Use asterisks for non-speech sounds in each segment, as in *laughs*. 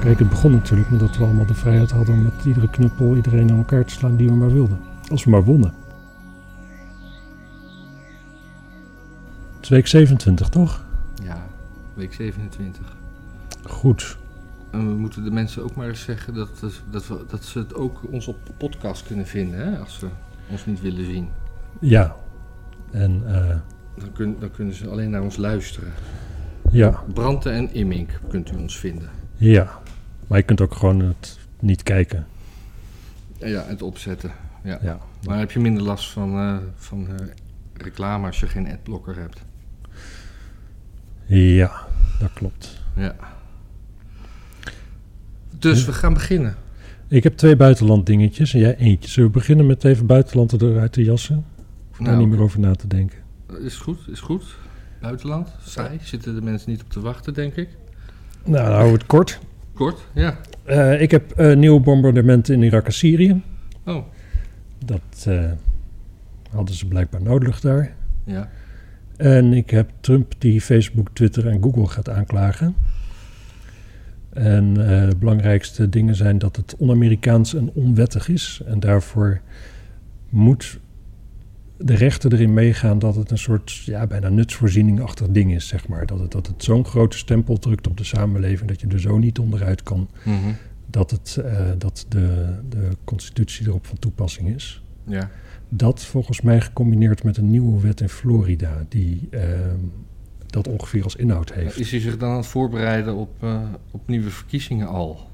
Kijk, het begon natuurlijk met dat we allemaal de vrijheid hadden om met iedere knuppel iedereen aan elkaar te slaan die we maar wilden. Als we maar wonnen. Het is week 27, toch? Ja, week 27. Goed. En we moeten de mensen ook maar eens zeggen dat, dat, we, dat ze het ook ons op de podcast kunnen vinden, hè, als ze ons niet willen zien. Ja. En eh, Dan, kun- dan kunnen ze alleen naar ons luisteren. ja, Branten en Immink kunt u ons vinden. ja. Maar je kunt ook gewoon het niet kijken. En Ja, het opzetten. Ja. Ja. Maar heb je minder last van, eh, van eh, reclame als je geen adblocker hebt? Ja, dat klopt. Ja. Dus Hm? we gaan beginnen. Ik heb twee buitenland dingetjes en jij eentje. Zullen we beginnen met even buitenland eruit te jassen? Hoef daar Nou, niet meer over na te denken. Is goed, is goed. Buitenland, saai. Zitten de mensen niet op te wachten, denk ik. Nou, dan houden we het kort. Kort, ja. Eh, ik heb eh, nieuwe bombardementen in Irak en Syrië. Oh, Dat eh, hadden ze blijkbaar nodig daar. ja. En ik heb Trump die Facebook, Twitter en Google gaat aanklagen. En eh, de belangrijkste dingen zijn dat het on-Amerikaans en onwettig is. En daarvoor moet de rechter erin meegaan dat het een soort ja, bijna nutsvoorzieningachtig ding is, zeg maar. Dat het, dat het zo'n grote stempel drukt op de samenleving dat je er zo niet onderuit kan. Mhm. dat, het, eh, dat de, de constitutie erop van toepassing is. Ja. Dat volgens mij gecombineerd met een nieuwe wet in Florida, die eh, dat ongeveer als inhoud heeft. Is hij zich dan aan het voorbereiden op, eh, op nieuwe verkiezingen al?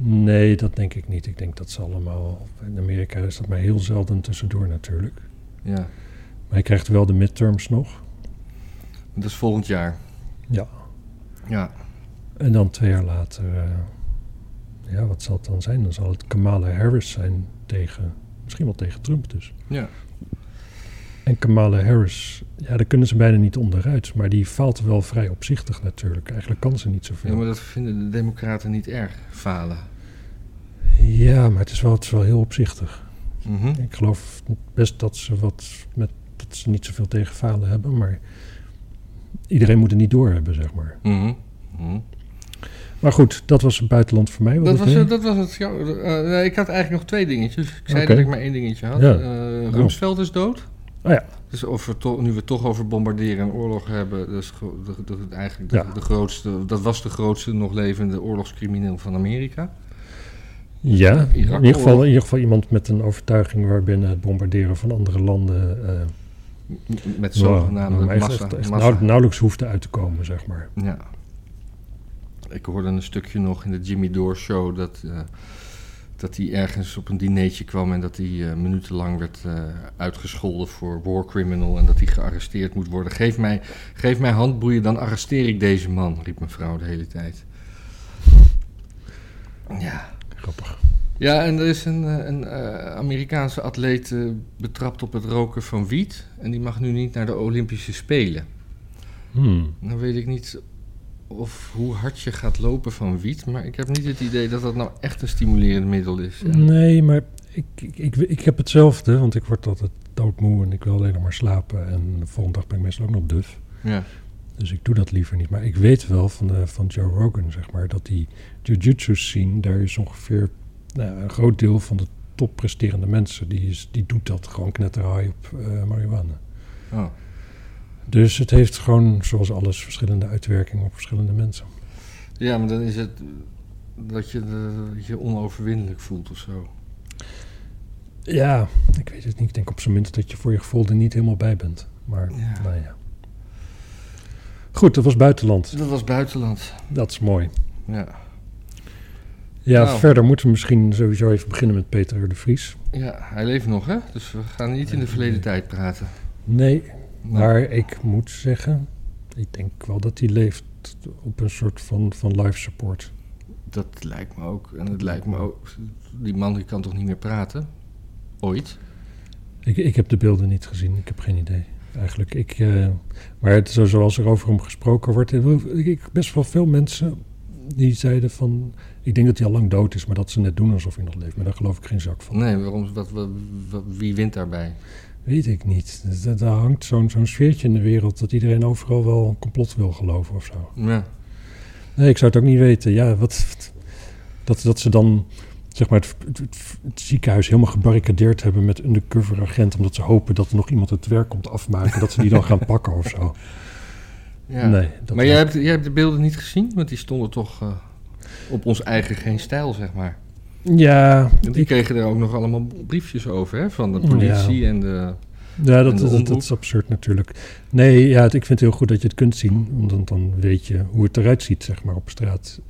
Nee, dat denk ik niet. Ik denk dat ze allemaal. In Amerika is dat maar heel zelden tussendoor natuurlijk. Ja. Maar je krijgt wel de midterms nog. Dat is volgend jaar. Ja. Ja. En dan twee jaar later. eh, ja, wat zal het dan zijn? Dan zal het Kamala Harris zijn tegen. Misschien wel tegen Trump dus. Ja. En Kamala Harris, ja, daar kunnen ze bijna niet onderuit. Maar die faalt wel vrij opzichtig natuurlijk. Eigenlijk kan ze niet zoveel. ja, Ja, maar dat vinden de democraten niet erg, falen. maar, het, is wel, het is wel heel opzichtig. Mhm. Ik geloof best dat ze, wat met, dat ze niet zoveel tegen falen hebben. Maar iedereen moet het niet doorhebben, zeg maar. Mhm. Mhm. Maar goed, dat was het buitenland voor mij. wat Dat ik was, deed. eh, dat was het. Ja, eh, nee, ik had eigenlijk nog twee dingetjes. Ik zei Oké. dat ik maar één dingetje had. Ja. Eh, Rumsfeld is dood. Oh ja. Dus of we to- nu we het toch over bombarderen en oorlog hebben, dus gro- de, de- de- eigenlijk de, Ja. de grootste, dat was de grootste nog levende oorlogscrimineel van Amerika. Ja, in Irak ieder, geval, oorlog. in ieder geval iemand met een overtuiging waarbinnen het bombarderen van andere landen... eh, M- Met nou, zogenaamde nou, maar echt- massa. echt, nou- echt massa. nauw- nauwelijks hoefde uit te komen, zeg maar. Ja. Ik hoorde een stukje nog in de Jimmy Door Show dat, eh, dat hij ergens op een dinertje kwam en dat hij eh, minutenlang werd eh, uitgescholden voor war criminal en dat hij gearresteerd moet worden. Geef mij, geef mij handboeien, dan arresteer ik deze man, riep mevrouw de hele tijd. Ja. Grappig. Ja, en er is een, eh, een eh, Amerikaanse atleet eh, betrapt op het roken van wiet. En die mag nu niet naar de Olympische Spelen. Hmm. Nou weet ik niet of hoe hard je gaat lopen van wiet, maar ik heb niet het idee dat dat nou echt een stimulerend middel is. En- Nee, maar ik, ik, ik, ik heb hetzelfde, want ik word altijd doodmoe en ik wil alleen nog maar slapen. En de volgende dag ben ik meestal ook nog duf. Ja, Dus ik doe dat liever niet. Maar ik weet wel van, eh, van Joe Rogan, zeg maar, dat die jujutsu scene, daar is ongeveer nou, ja, een groot deel van de toppresterende mensen, die, is, die doet dat gewoon knetterhaai op eh marihuana. oh. Dus het heeft gewoon, zoals alles, verschillende uitwerkingen op verschillende mensen. ja maar dan is het eh, dat je de- je onoverwinnelijk voelt of zo. Ja, ik weet het niet. Ik denk op zijn minst dat je voor je gevoel er niet helemaal bij bent. Maar, Ja. nou ja. Goed, dat was buitenland. Dat was buitenland. Dat is mooi. Ja, Ja, Nou. verder moeten we misschien sowieso even beginnen met Peter R. de Vries. ja hij leeft nog, hè? Dus we gaan niet in de verleden tijd praten. Nee, Nou, maar ik moet zeggen, ik denk wel dat hij leeft op een soort van, van life support. Dat lijkt me ook. En het lijkt me ook. Die man die kan toch niet meer praten? Ooit? Ik, ik heb de beelden niet gezien, ik heb geen idee. Eigenlijk, ik, eh, maar het, zo- zoals er over hem gesproken wordt, ik, ik- best wel veel mensen die zeiden van, ik denk dat hij al lang dood is, maar dat ze net doen alsof hij nog leeft. Maar daar geloof ik geen zak van. Nee, waarom, wat, wat, wat- wie wint daarbij? Weet ik niet. Dus dat- Daar hangt zo'n zo'n sfeertje in de wereld dat iedereen overal wel een complot wil geloven of zo. Ja. Nee, ik zou het ook niet weten. Ja, wat, dat, dat ze dan zeg maar, het, het, het, het ziekenhuis helemaal gebarricadeerd hebben met undercover agent... omdat ze hopen dat er nog iemand het werk komt afmaken... dat ze die dan *laughs* gaan pakken of zo. Ja. Nee, dat maar jij lijkt- hebt, jij hebt de beelden niet gezien, want die stonden toch eh, op ons eigen geen stijl, zeg maar. Ja, En die ik- kregen er ook nog allemaal briefjes over, hè, van de politie en de... ja dat, de dat, dat omroep. is absurd natuurlijk. Nee, ja, het- ik vind het heel goed dat je het kunt zien... want dan, dan weet je hoe het eruit ziet zeg maar, op straat.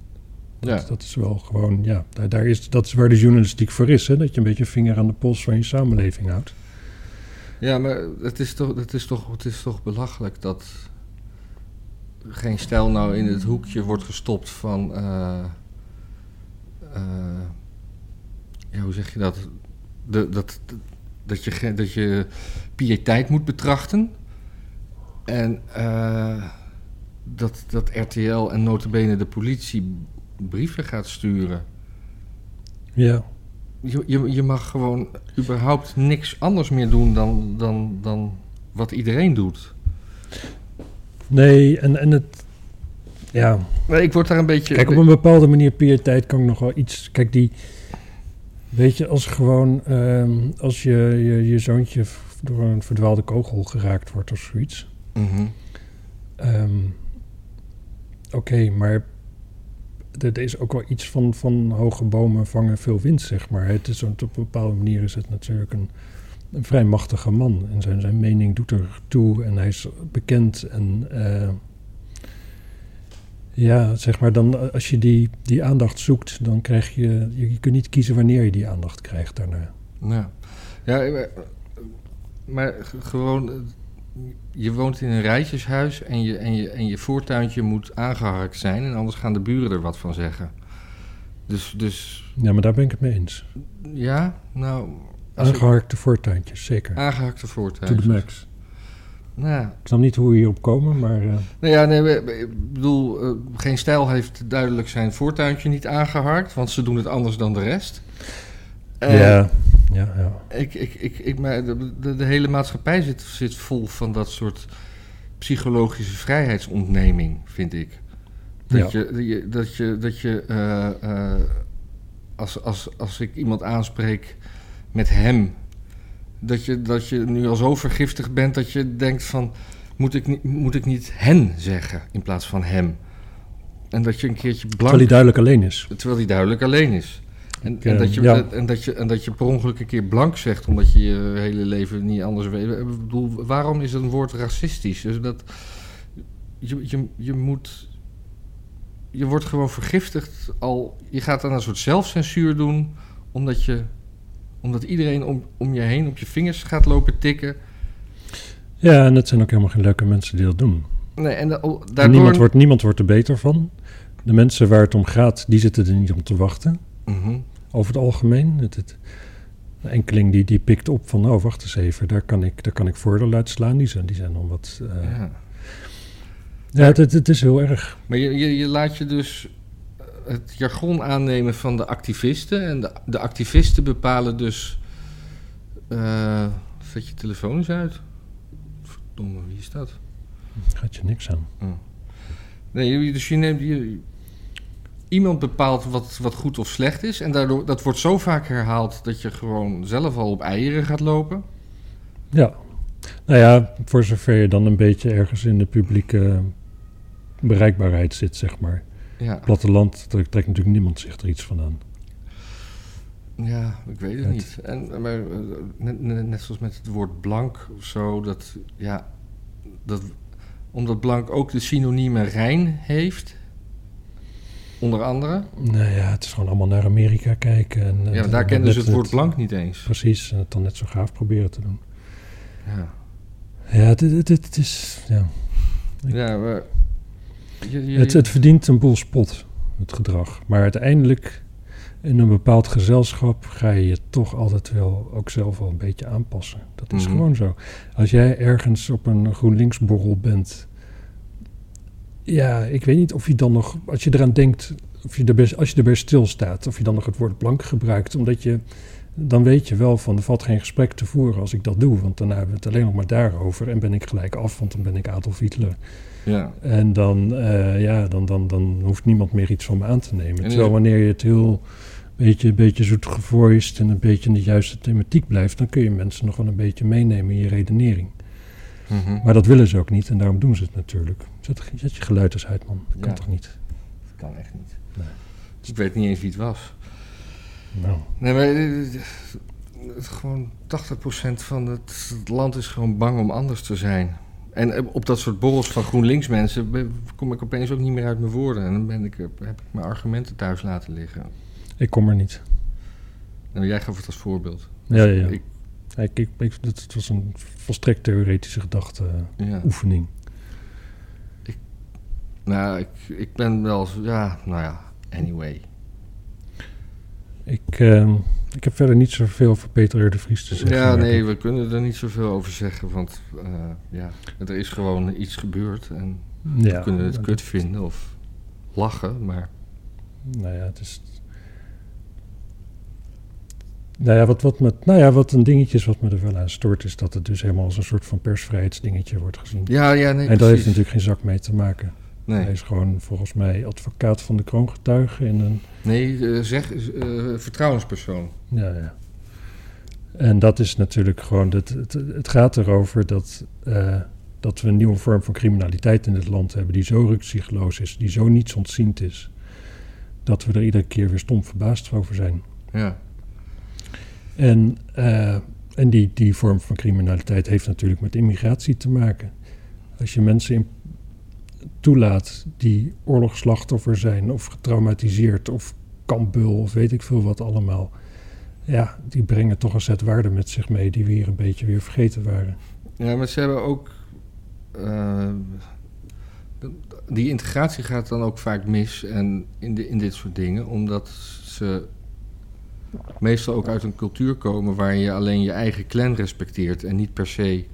Dat, Ja, dat is wel gewoon, ja, daar, daar is, dat is waar de journalistiek voor is... Hè, dat je een beetje vinger aan de pols van je samenleving houdt. ja maar het is, toch, het, is toch, het is toch belachelijk dat geen stijl nou in het hoekje wordt gestopt van... eh, eh, ja, hoe zeg je dat? De, dat, dat, dat, je, ge- dat je piëteit moet betrachten. En eh, dat, dat RTL en notabene de politie brieven gaat sturen. Ja, Je, je, je mag gewoon überhaupt niks anders meer doen dan, dan, dan wat iedereen doet. nee, en, en het... Ja, Maar ik word daar een beetje... Kijk, op een bepaalde manier pietijd kan ik nog wel iets... Kijk, die... Weet je, als gewoon... ehm, als je, je, je zoontje v- door een verdwaalde kogel geraakt wordt of zoiets... Mhm. ehm, Oké, maar... Er er is ook wel iets van, van hoge bomen vangen veel wind, zeg maar. Het is, zo'n- op een bepaalde manier is het natuurlijk een, een vrij machtige man. En zijn, zijn mening doet er toe en hij is bekend. En eh, ja, zeg maar, dan, eh, als je die, die aandacht zoekt, dan krijg je, je... Je kunt niet kiezen wanneer je die aandacht krijgt daarna. Ja, ja maar, maar g- gewoon, eh, je woont in een rijtjeshuis en je, en, je, en je voortuintje moet aangeharkt zijn en anders gaan de buren er wat van zeggen. Dus, dus Ja, maar daar ben ik het mee eens. ja, nou, als Ah, ik Aangeharkte voortuintjes, zeker. aangeharkte to the voortuintjes. max. Nou, ja. Ik snap niet hoe we hierop komen, maar... eh, nou ja, nee, we- we- ik bedoel, eh, geen stijl heeft duidelijk zijn voortuintje niet aangeharkt, want ze doen het anders dan de rest. Eh, ja, ja, ja. Ik, ik, ik, ik, maar de, de, de hele maatschappij zit, zit vol van dat soort psychologische vrijheidsontneming, vind ik. Dat je, dat je, dat je, dat je eh, eh, als, als, als ik iemand aanspreek met hem, dat je, dat je nu al zo vergiftigd bent dat je denkt van, moet ik niet, moet ik niet hen zeggen in plaats van hem? En dat je een keertje blank... Terwijl hij duidelijk alleen is. Terwijl hij duidelijk alleen is. En, Ik, en, eh, dat je, ja. en, dat je, en dat je per ongeluk een keer blank zegt, omdat je je hele leven niet anders weet. Ik bedoel, waarom is een woord racistisch? Dus dat, je, je, je moet. Je wordt gewoon vergiftigd al. Je gaat aan een soort zelfcensuur doen, omdat, je, omdat iedereen om, om je heen op je vingers gaat lopen tikken. Ja, en het zijn ook helemaal geen leuke mensen die dat doen. Nee, en da- o- En daardoor. Niemand, wordt, niemand wordt er beter van. De mensen waar het om gaat, die zitten er niet om te wachten. Mhm. Over het algemeen. Het, het, de enkeling die, die pikt op van, oh wacht eens even, daar kan ik, daar kan ik voordeel uit slaan. Die zijn, die zijn dan wat... eh, ja, ja. het, het, het is heel erg. Maar je, je, je laat je dus het jargon aannemen van de activisten. En de, de activisten bepalen dus. eh, zet je telefoon eens uit. Verdomme, wie is dat? Gaat je niks aan. Nee, je- dus je neemt. Je, iemand bepaalt wat, wat goed of slecht is. En daardoor, dat wordt zo vaak herhaald dat je gewoon zelf al op eieren gaat lopen. Ja. Nou ja, voor zover je dan een beetje ergens in de publieke bereikbaarheid zit, zeg maar. Ja, Platteland trekt, trekt natuurlijk niemand zich er iets van aan. ja ik weet het Het- niet. En, maar, eh, net, net- net zoals met het woord blank of zo. Dat, ja, dat, omdat blank ook de synonieme rein heeft. Onder andere. Nou ja, het is gewoon allemaal naar Amerika kijken. En, eh, Ja, en- daar en kennen ze net het woord blank niet eens. Precies, en het dan net zo gaaf proberen te doen. Ja, Ja, het, het, het, het is... Ja. ja maar, je- je- Het, het verdient een boel spot, het gedrag. Maar uiteindelijk, in een bepaald gezelschap, ga je je toch altijd wel ook zelf wel een beetje aanpassen. Dat is Mhm. gewoon zo. Als jij ergens op een GroenLinks-borrel bent, ja, ik weet niet of je dan nog, als je eraan denkt, of je erbij, als je erbij stilstaat, of je dan nog het woord blank gebruikt, omdat je, dan weet je wel van er valt geen gesprek te voeren als ik dat doe, want daarna hebben we het alleen nog maar daarover en ben ik gelijk af, want dan ben ik Adolf Hitler. Ja. En dan, eh, ja, dan, dan, dan hoeft niemand meer iets van me aan te nemen. is Terwijl het- wanneer je het heel beetje, een beetje zoet gevoiced en een beetje in de juiste thematiek blijft, dan kun je mensen nog wel een beetje meenemen in je redenering. Mhm. Maar dat willen ze ook niet en daarom doen ze het natuurlijk. Zet, zet je geluid eens uit, man. Dat kan Ja. toch niet? Dat kan echt niet. Nee. Dus ik weet niet eens wie het was. Nou, Nee, maar eh, eh, het, gewoon 80% van het, het land is gewoon bang om anders te zijn. En eh, op dat soort borrels van GroenLinks mensen be- kom ik opeens ook niet meer uit mijn woorden. En dan ben ik, eh, heb ik mijn argumenten thuis laten liggen. ik kom er niet. Nou, jij gaf het als voorbeeld. Ja, ja, ja. Ik- Ik, ik, ik- dat, dat was een volstrekt theoretische gedachte eh, ja. oefening. Nou, ik, ik ben wel... zo- Ja, nou ja, anyway. Ik, ehm, ik heb verder niet zoveel voor Peter R. de Vries te zeggen. Ja, maar nee, dat- we kunnen er niet zoveel over zeggen. Want eh, ja, er is gewoon iets gebeurd. En ja, we kunnen het maar kut vinden of lachen. Maar dat- Nou ja, het is... Nou ja, wat, wat, met, nou ja, wat een dingetje is wat me er wel aan stoort... is dat het dus helemaal als een soort van persvrijheidsdingetje wordt gezien. ja, ja, nee, en daar heeft precies. natuurlijk geen zak mee te maken. Hij Nee, is gewoon volgens mij advocaat van de kroongetuigen in een nee eh, zeg, eh, vertrouwenspersoon. Ja, ja. En dat is natuurlijk gewoon. Het, het, het gaat erover dat, eh, dat we een nieuwe vorm van criminaliteit in dit land hebben. die zo rukzichtloos is, die zo niets ontziend is. dat we er iedere keer weer stom verbaasd over zijn. Ja, En, eh, en die, die vorm van criminaliteit heeft natuurlijk met immigratie te maken. Als je mensen in- toelaat die oorlogsslachtoffer zijn of getraumatiseerd of kampbul of weet ik veel wat allemaal. Ja, die brengen toch een set waarden met zich mee die we hier een beetje weer vergeten waren. ja maar ze hebben ook... eh, die integratie gaat dan ook vaak mis en in, de, in dit soort dingen. Omdat ze meestal ook uit een cultuur komen... waar je alleen je eigen clan respecteert... en niet per se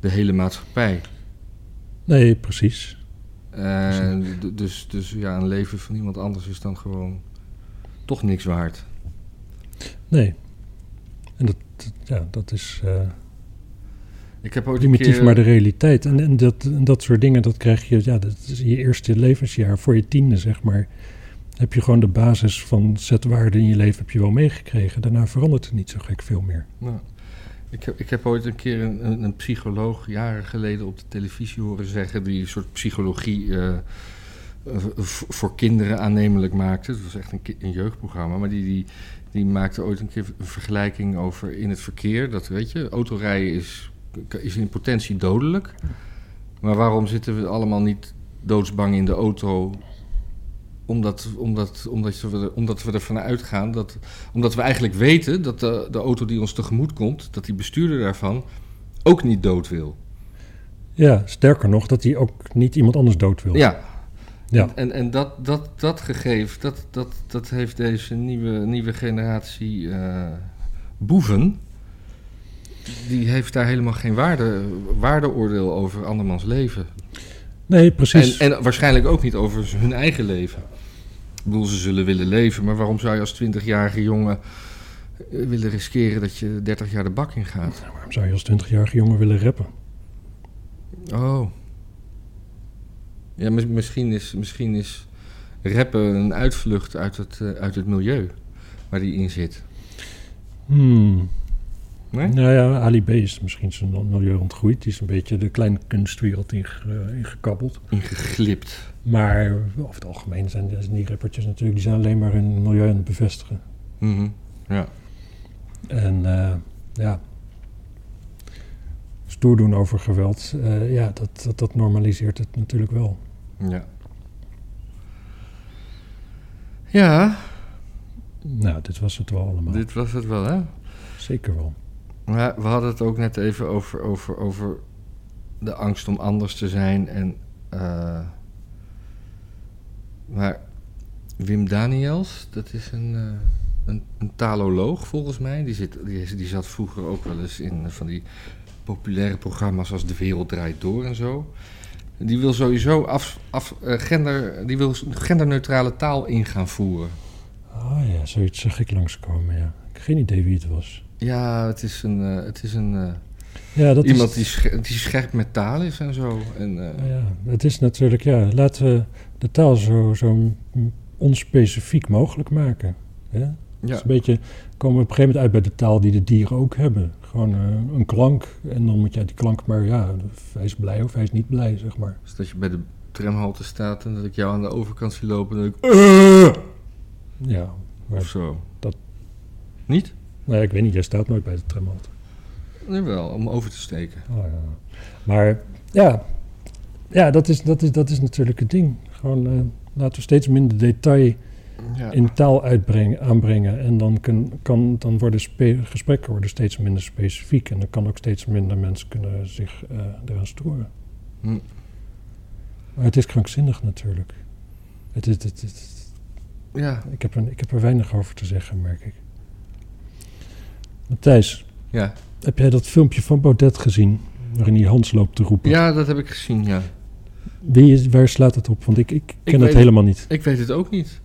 de hele maatschappij. Nee, precies. En d- dus, dus ja, een leven van iemand anders is dan gewoon toch niks waard. Nee. En dat, dat- ja, dat is. eh, Ik heb ooit een primitief, keer... maar de realiteit. En, en, dat, en dat soort dingen, dat krijg je, ja, dat is je eerste levensjaar, voor je tiende zeg maar. Heb je gewoon de basis van zetwaarden in je leven heb je wel meegekregen. Daarna verandert het niet zo gek veel meer. Nou, ik, heb, ik heb ooit een keer een, een, een psycholoog jaren geleden op de televisie horen zeggen... die een soort psychologie eh, eh, v- voor kinderen aannemelijk maakte. Het was echt een, ki- een jeugdprogramma. Maar die, die, die maakte ooit een keer een vergelijking over in het verkeer. Dat weet je, autorijden is, is in potentie dodelijk. Maar waarom zitten we allemaal niet doodsbang in de auto... Omdat, omdat, omdat, we, er- omdat we ervan uitgaan dat omdat we eigenlijk weten dat de, de auto die ons tegemoet komt, dat die bestuurder daarvan ook niet dood wil. Ja, sterker nog, dat hij ook niet iemand anders dood wil. Ja. Ja. En, en dat, dat, dat gegeven, dat, dat, dat heeft deze nieuwe, nieuwe generatie eh, boeven. Die heeft daar helemaal geen waarde, waardeoordeel over andermans leven. Nee, precies. En, en waarschijnlijk ook niet over hun eigen leven. Ik bedoel, ze zullen willen leven, maar waarom zou je als 20-jarige jongen eh, willen riskeren dat je 30 jaar de bak in gaat? Waarom zou je als 20-jarige jongen willen rappen? Oh. Ja, mis- misschien is, misschien is rappen een uitvlucht uit het, eh, uit het milieu waar die in zit. Hmm. Nee? Nou ja, Ali B is misschien zijn milieu ontgroeid. Die is een beetje de kleine kunstwereld inge- ingekabbeld. Ingeglipt. Maar over het algemeen zijn die rappertjes natuurlijk, die zijn alleen maar hun milieu aan het bevestigen. Mhm. Ja. En eh, ja, stoer doen over geweld, eh, ja, dat, dat, dat normaliseert het natuurlijk wel. Ja. Ja, Nou, dit was het wel allemaal. dit was het wel, hè? Zeker wel. Ja, we hadden het ook net even over, over, over de angst om anders te zijn. En, eh, maar Wim Daniels, dat is een, eh, een, een taloloog volgens mij. Die, zit, die, is- die zat vroeger ook wel eens in van die populaire programma's als De Wereld Draait Door en zo. Die wil sowieso af, af, eh, gender, die wil genderneutrale taal in gaan voeren. Ah ja, zoiets zag ik langskomen, ja. Ik heb geen idee wie het was. Ja, het is een, eh, het is een, eh, Ja, dat iemand is, Ah, die, sche- die scherp met taal is en zo. En, eh, Ja, het is natuurlijk, ja, laten we de taal zo, zo onspecifiek mogelijk maken. Ja? ja. Het is een beetje, komen we op een gegeven moment uit bij de taal die de dieren ook hebben. Gewoon eh, een klank en dan moet je uit die klank maar, ja, of hij is blij of hij is niet blij, zeg maar. Dus dat je bij de tramhalte staat en dat ik jou aan de overkant zie lopen en dat ik... eh, Ja, Of zo. Eh! Dat- Niet? nou ja, ik weet niet, jij staat nooit bij de tramhalte. Jawel, om over te steken. Oh, ja. Maar ja, ja dat, is, dat, is, dat is natuurlijk het ding. Gewoon eh, laten we steeds minder detail Ja. in taal uitbrengen, aanbrengen. En dan, kun, kan, dan worden spe- gesprekken worden steeds minder specifiek. En dan kan ook steeds minder mensen kunnen zich eh eraan storen. Hm. Maar het is krankzinnig natuurlijk. Het, is- het, het- Ja. ik, heb er, ik heb er weinig over te zeggen, merk ik. Matthijs, Ja. heb jij dat filmpje van Baudet gezien? Waarin hij Hans loopt te roepen. ja, dat heb ik gezien, ja. Wie is, waar slaat het op? Want ik, ik ken weet het het. helemaal niet. Ik weet het ook niet.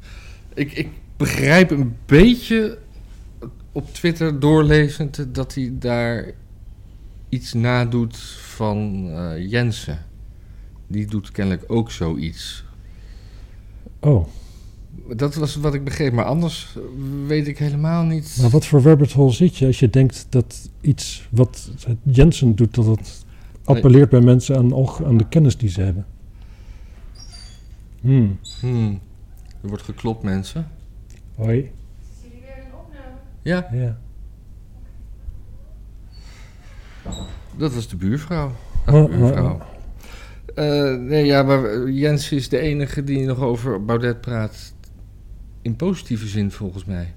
Ik, ik begrijp een beetje op Twitter doorlezend dat hij daar iets nadoet van eh, Jensen. Die doet kennelijk ook zoiets. Oh, Dat was wat ik begreep, maar anders weet ik helemaal niet. maar wat voor rabbit hole zit je als je denkt dat iets wat Jensen doet, dat het appelleert bij mensen aan, alg- aan de kennis die ze hebben? Hmm. Hmm. Er wordt geklopt, mensen. Hoi. Is jullie weer een opname? Ja, Ja. dat was de buurvrouw. Oh, Ach, oh, buurvrouw. Eh, nee, ja, maar Jens is de enige die nog over Baudet praat. In positieve zin, volgens mij.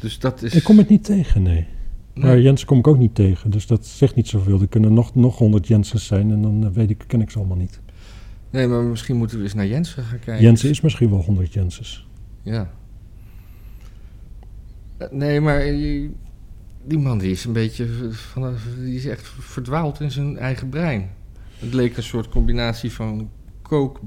Dus dat is. Ik kom het niet tegen, nee. Nee. Maar Jensen kom ik ook niet tegen, dus dat zegt niet zoveel. Er kunnen nog nog honderd Jensens zijn en dan eh, weet ik, ken ik ze allemaal niet. Nee, maar misschien moeten we eens naar Jensen gaan kijken. Jensen is misschien wel honderd Jensens. Ja. Eh, Nee, maar eh, die man die is een beetje. v- Van, die is echt verdwaald in zijn eigen brein. Het leek een soort combinatie van kook,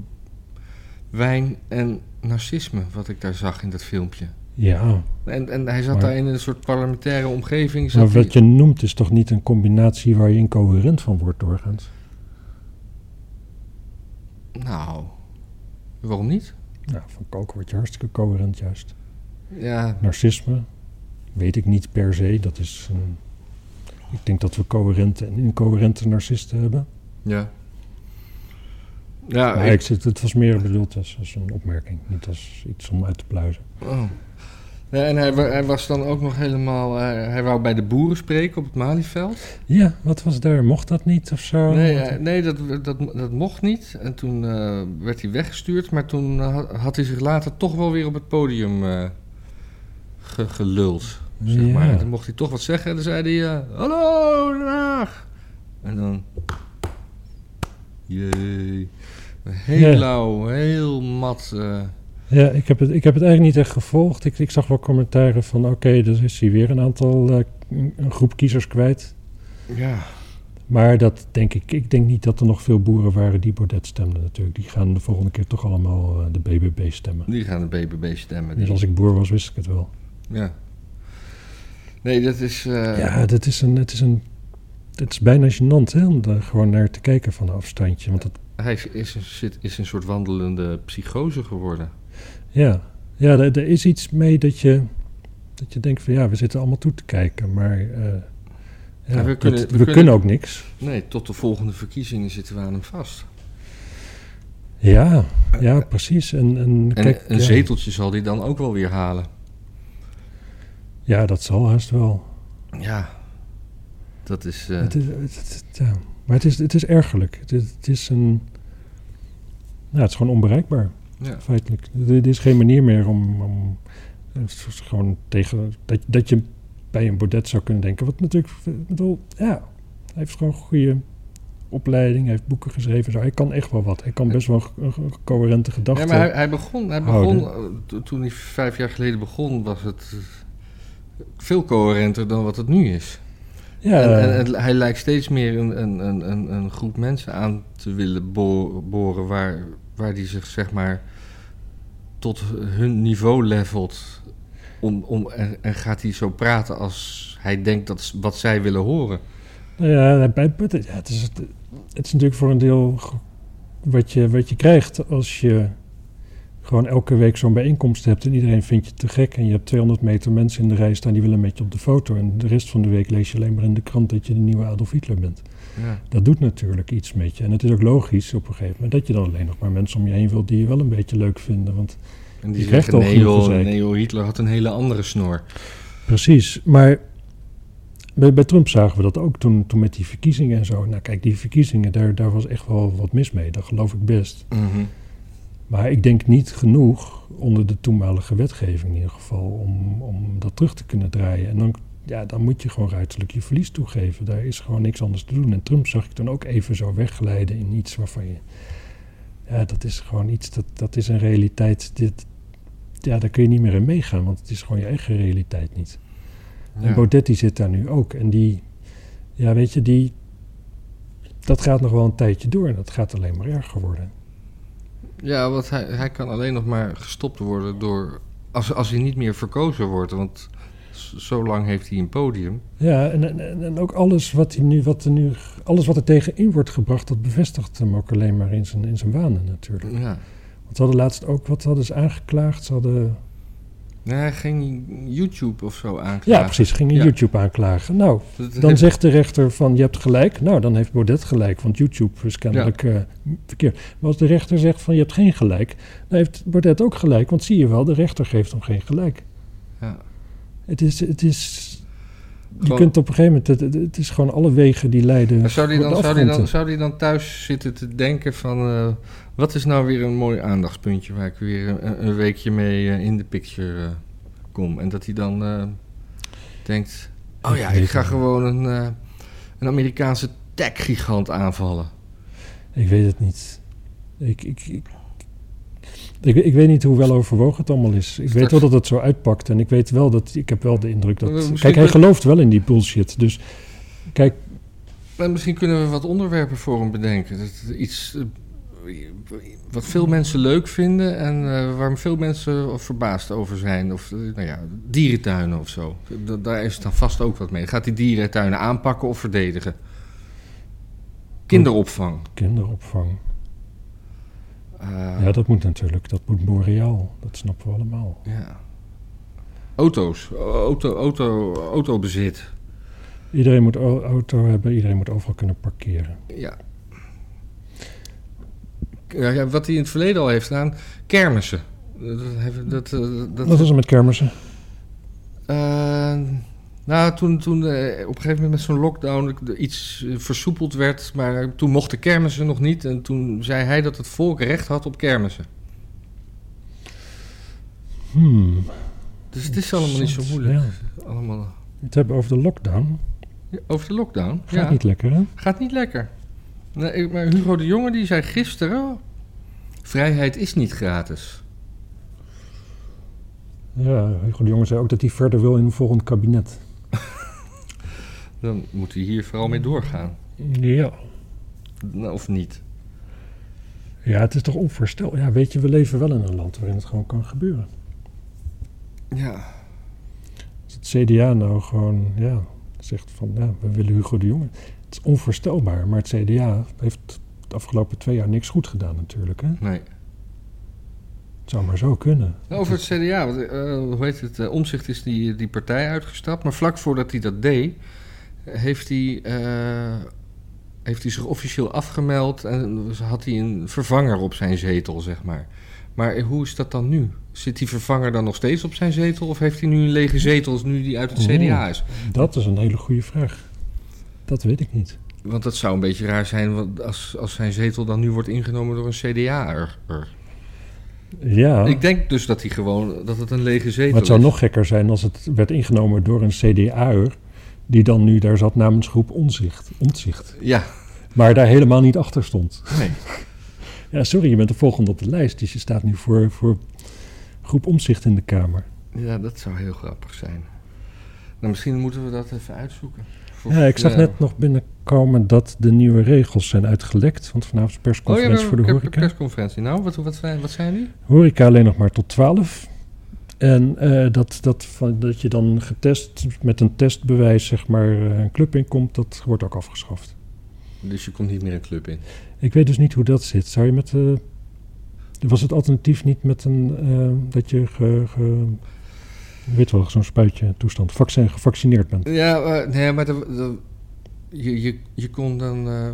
wijn en narcisme, wat ik daar zag in dat filmpje. Ja, En, en hij zat Maar- daar in een soort parlementaire omgeving. maar Zat wat hij, je noemt is toch niet een combinatie waar je incoherent van wordt doorgaans? Nou, waarom niet? Nou, van koken word je hartstikke coherent juist. Ja, Narcisme weet ik niet per se. Dat is een... Ik denk dat we coherente en incoherente narcisten hebben. ja. Ja, maar ik- ik zit, het was meer bedoeld als, als een opmerking. Niet als iets om uit te pluizen. Oh. Ja, en hij, wa- hij was dan ook nog helemaal... eh, hij wou bij de boeren spreken op het Malieveld. Ja, wat was daar? Mocht dat niet of zo? nee, Wat- eh, nee dat, dat, dat mocht niet. En toen eh, werd hij weggestuurd. Maar toen eh, ha- had hij zich later toch wel weer op het podium eh ge- geluld. Zeg Ja. maar. En toen mocht hij toch wat zeggen. En dan zei hij... eh, Hallo, Den Haag! En dan... Jee. Heel Ja. lauw, heel mat. eh. Ja, ik heb, het, ik heb het eigenlijk niet echt gevolgd. Ik, ik zag wel commentaren van... Oké, dus is hij weer een aantal... eh, een een groep kiezers kwijt. ja. Maar dat denk ik... Ik denk niet dat er nog veel boeren waren die Baudet stemden natuurlijk. Die gaan de volgende keer toch allemaal eh, de BBB stemmen. Die gaan de BBB stemmen. Die. Dus als ik boer was, wist ik het wel. Ja. Nee, dat is. eh, Ja, dat is een, het, is een, het is bijna gênant hè, om daar gewoon naar te kijken van een afstandje. Want dat, Hij is- is een, zit, is een soort wandelende psychose geworden. ja, ja er, er is iets mee dat je, dat je denkt van ja, we zitten allemaal toe te kijken. Maar eh, ja, Ja, we dat- kunnen- we we kunnen- kunnen ook niks. Nee, tot de volgende verkiezingen zitten we aan hem vast. Ja, ja precies. En, en, En kijk, een ja, zeteltje zal hij dan ook wel weer halen. Ja, dat zal haast wel. Ja. Dat is. eh, Het is, het, het- het- ja. Maar het is, het is ergerlijk. Het, is- het is een... Nou, het is gewoon onbereikbaar. ja. feitelijk. Er er is geen manier meer om. om het is dus gewoon tegen. Dat, dat je bij een Baudet zou kunnen denken. Wat natuurlijk. ik bedoel, ja. Hij heeft gewoon goede opleiding. Hij heeft boeken geschreven. Zo. Hij kan echt wel wat. Hij kan best wel een ge- coherente Ja, gedachten. maar hij, hij begon. Hij begon houden. eh, to- toen hij vijf jaar geleden begon, was het eh, veel coherenter dan wat het nu is. Ja, en, en, en hij lijkt steeds meer een, een, een, een, een groep mensen aan te willen bo- boren waar, waar die zich zeg maar tot hun niveau levelt. Om, om, en, en gaat hij zo praten als hij denkt dat is wat zij willen horen. nou ja, bij Putten, ja, het, is, het is natuurlijk voor een deel g- wat je, wat je krijgt als je gewoon elke week zo'n bijeenkomst hebt en iedereen vindt je te gek en je hebt 200 meter mensen in de rij staan die willen met je op de foto en de rest van de week lees je alleen maar in de krant dat je de nieuwe Adolf Hitler bent. Ja. Dat doet natuurlijk iets met je en het is ook logisch op een gegeven moment dat je dan alleen nog maar mensen om je heen wilt die je wel een beetje leuk vinden, want En die Je krijgt zeggen, al nee genoeg joh, gezeik. nee joh, Hitler had een hele andere snor. Precies, maar bij, bij Trump zagen we dat ook toen, toen met die verkiezingen en zo. Nou kijk, die verkiezingen, daar, daar was echt wel wat mis mee, dat geloof ik best. Maar ik denk niet genoeg onder de toenmalige wetgeving in ieder geval om, om dat terug te kunnen draaien. En dan, ja, dan moet je gewoon ruiterlijk je verlies toegeven. Daar is gewoon niks anders te doen. En Trump zag ik toen ook even zo wegglijden in iets waarvan je... Ja, dat is gewoon iets, dat, dat is een realiteit. Dit, ja, daar kun je niet meer in meegaan, want het is gewoon je eigen realiteit niet. En Ja. Baudet die zit daar nu ook. En die, ja weet je, die, dat gaat nog wel een tijdje door. En dat gaat alleen maar erger worden. Ja, want hij, hij kan alleen nog maar gestopt worden door. Als, als hij niet meer verkozen wordt. Want z- zo lang heeft hij een podium. Ja, en, en- en, en ook alles wat, hij nu, wat er nu, alles wat er tegenin wordt gebracht, dat bevestigt hem ook alleen maar in zijn, in zijn wanen natuurlijk. Ja. Want ze hadden laatst ook, wat hadden ze aangeklaagd? Ze hadden, Nee, hij ging YouTube of zo aanklagen. ja precies, gingen Ja. YouTube aanklagen. Nou, Dat dan *laughs* heeft- zegt de rechter van je hebt gelijk. Nou, dan heeft Baudet gelijk, want YouTube is kennelijk eh, verkeerd. Maar als de rechter zegt van je hebt geen gelijk, dan heeft Baudet ook gelijk. Want zie je wel, de rechter geeft hem geen gelijk. Ja. Het is, het is je Gewoon- kunt op een gegeven moment, het, het- het is gewoon alle wegen die leiden. Maar zou hij voor de dan, zou die afgrond in. dan, zou die dan thuis zitten te denken van... eh, wat is nou weer een mooi aandachtspuntje waar ik weer een, een weekje mee eh, in de picture eh, kom? En dat hij dan eh, denkt... Oh ja, ik ga gewoon een, eh, een Amerikaanse tech-gigant aanvallen. Ik weet het niet. Ik, ik, ik, ik, ik weet niet hoe wel overwogen het allemaal is. Ik weet wel dat het zo uitpakt. En ik weet wel dat. Ik heb wel de indruk Eh, dat. misschien Kijk, hij dat- gelooft wel in die bullshit. Dus kijk, Maar misschien kunnen we wat onderwerpen voor hem bedenken. Dat is iets eh, wat veel mensen leuk vinden en eh, waar veel mensen verbaasd over zijn. Of eh, nou ja, dierentuinen of zo. Da- daar is dan vast ook wat mee. Gaat hij dierentuinen aanpakken of verdedigen? Kinderopvang. kinderopvang. Eh, Ja, dat moet natuurlijk. Dat moet boreaal. Dat snappen we allemaal. ja. Auto's. Auto, auto, autobezit. Iedereen moet au- auto hebben. Iedereen moet overal kunnen parkeren. Ja. Ja, ja, Wat hij in het verleden al heeft gedaan, kermissen. Dat, dat, dat, dat, Wat is er met kermissen? Eh, nou, toen, toen eh, op een gegeven moment met zo'n lockdown er iets eh, versoepeld werd, maar toen mochten kermissen nog niet. En toen zei hij dat het volk recht had op kermissen. Hmm. Dus het Oh, is allemaal niet zo moeilijk. Ja. Allemaal Het hebben over de lockdown. Ja, over de lockdown. Gaat ja, niet lekker, hè? gaat niet lekker. Nee, ik- maar Hugo de Jonge die zei gisteren: "Oh, vrijheid is niet gratis. Ja, Hugo de Jonge zei ook dat hij verder wil in een volgend kabinet. Dan moet hij hier vooral mee doorgaan. Ja. Nou, Of niet? Ja, het is toch onvoorstelbaar. Ja, weet je, we leven wel in een land waarin het gewoon kan gebeuren. Ja. Als het CDA nou gewoon ja, zegt van, ja, we willen Hugo de Jonge. Het is onvoorstelbaar, maar het CDA heeft de afgelopen twee jaar niks goed gedaan natuurlijk. Hè? Nee. Het zou maar zo kunnen. Nou, Over het CDA, want, eh, hoe heet het? Omzicht is die, die partij uitgestapt. Maar vlak voordat hij dat deed, heeft hij, eh, heeft hij zich officieel afgemeld. En had hij een vervanger op zijn zetel, zeg maar. Maar eh, hoe is dat dan nu? Zit die vervanger dan nog steeds op zijn zetel? Of heeft hij nu een lege zetel, nu die uit het Oeh. CDA is? Dat is een hele goede vraag. Dat weet ik niet. Want dat zou een beetje raar zijn want als, als zijn zetel dan nu wordt ingenomen door een CDA'er. Ja, Ik denk dus dat hij gewoon, dat het een lege zetel maar het zou is. nog gekker zijn als het werd ingenomen door een CDA'er... die dan nu daar zat namens groep Onzicht, Ontzicht. Ja, Maar daar helemaal niet achter stond. nee. Ja, sorry, je bent de volgende op de lijst. Dus je staat nu voor, voor groep omzicht in de Kamer. Ja, dat zou heel grappig zijn. Nou, misschien moeten we dat even uitzoeken. Of, Ja, ik zag ja. net nog binnenkomen dat de nieuwe regels zijn uitgelekt. Want vanavond is Oh, ja, persconferentie voor de ik heb een horeca. persconferentie. Nou, wat, wat, zijn, wat zijn die? Horeca alleen nog maar tot 12. En eh, dat, dat, van, dat je dan getest met een testbewijs zeg maar eh, een club inkomt, dat wordt ook afgeschaft. Dus je komt niet meer een club in. Ik weet dus niet hoe dat zit. Zou je met eh, was het alternatief niet met een eh, dat je ge, ge, je weet wel zo'n spuitje toestand vaccin gevaccineerd bent? Ja, eh, nee, maar de- de- je, je, je kon dan... eh,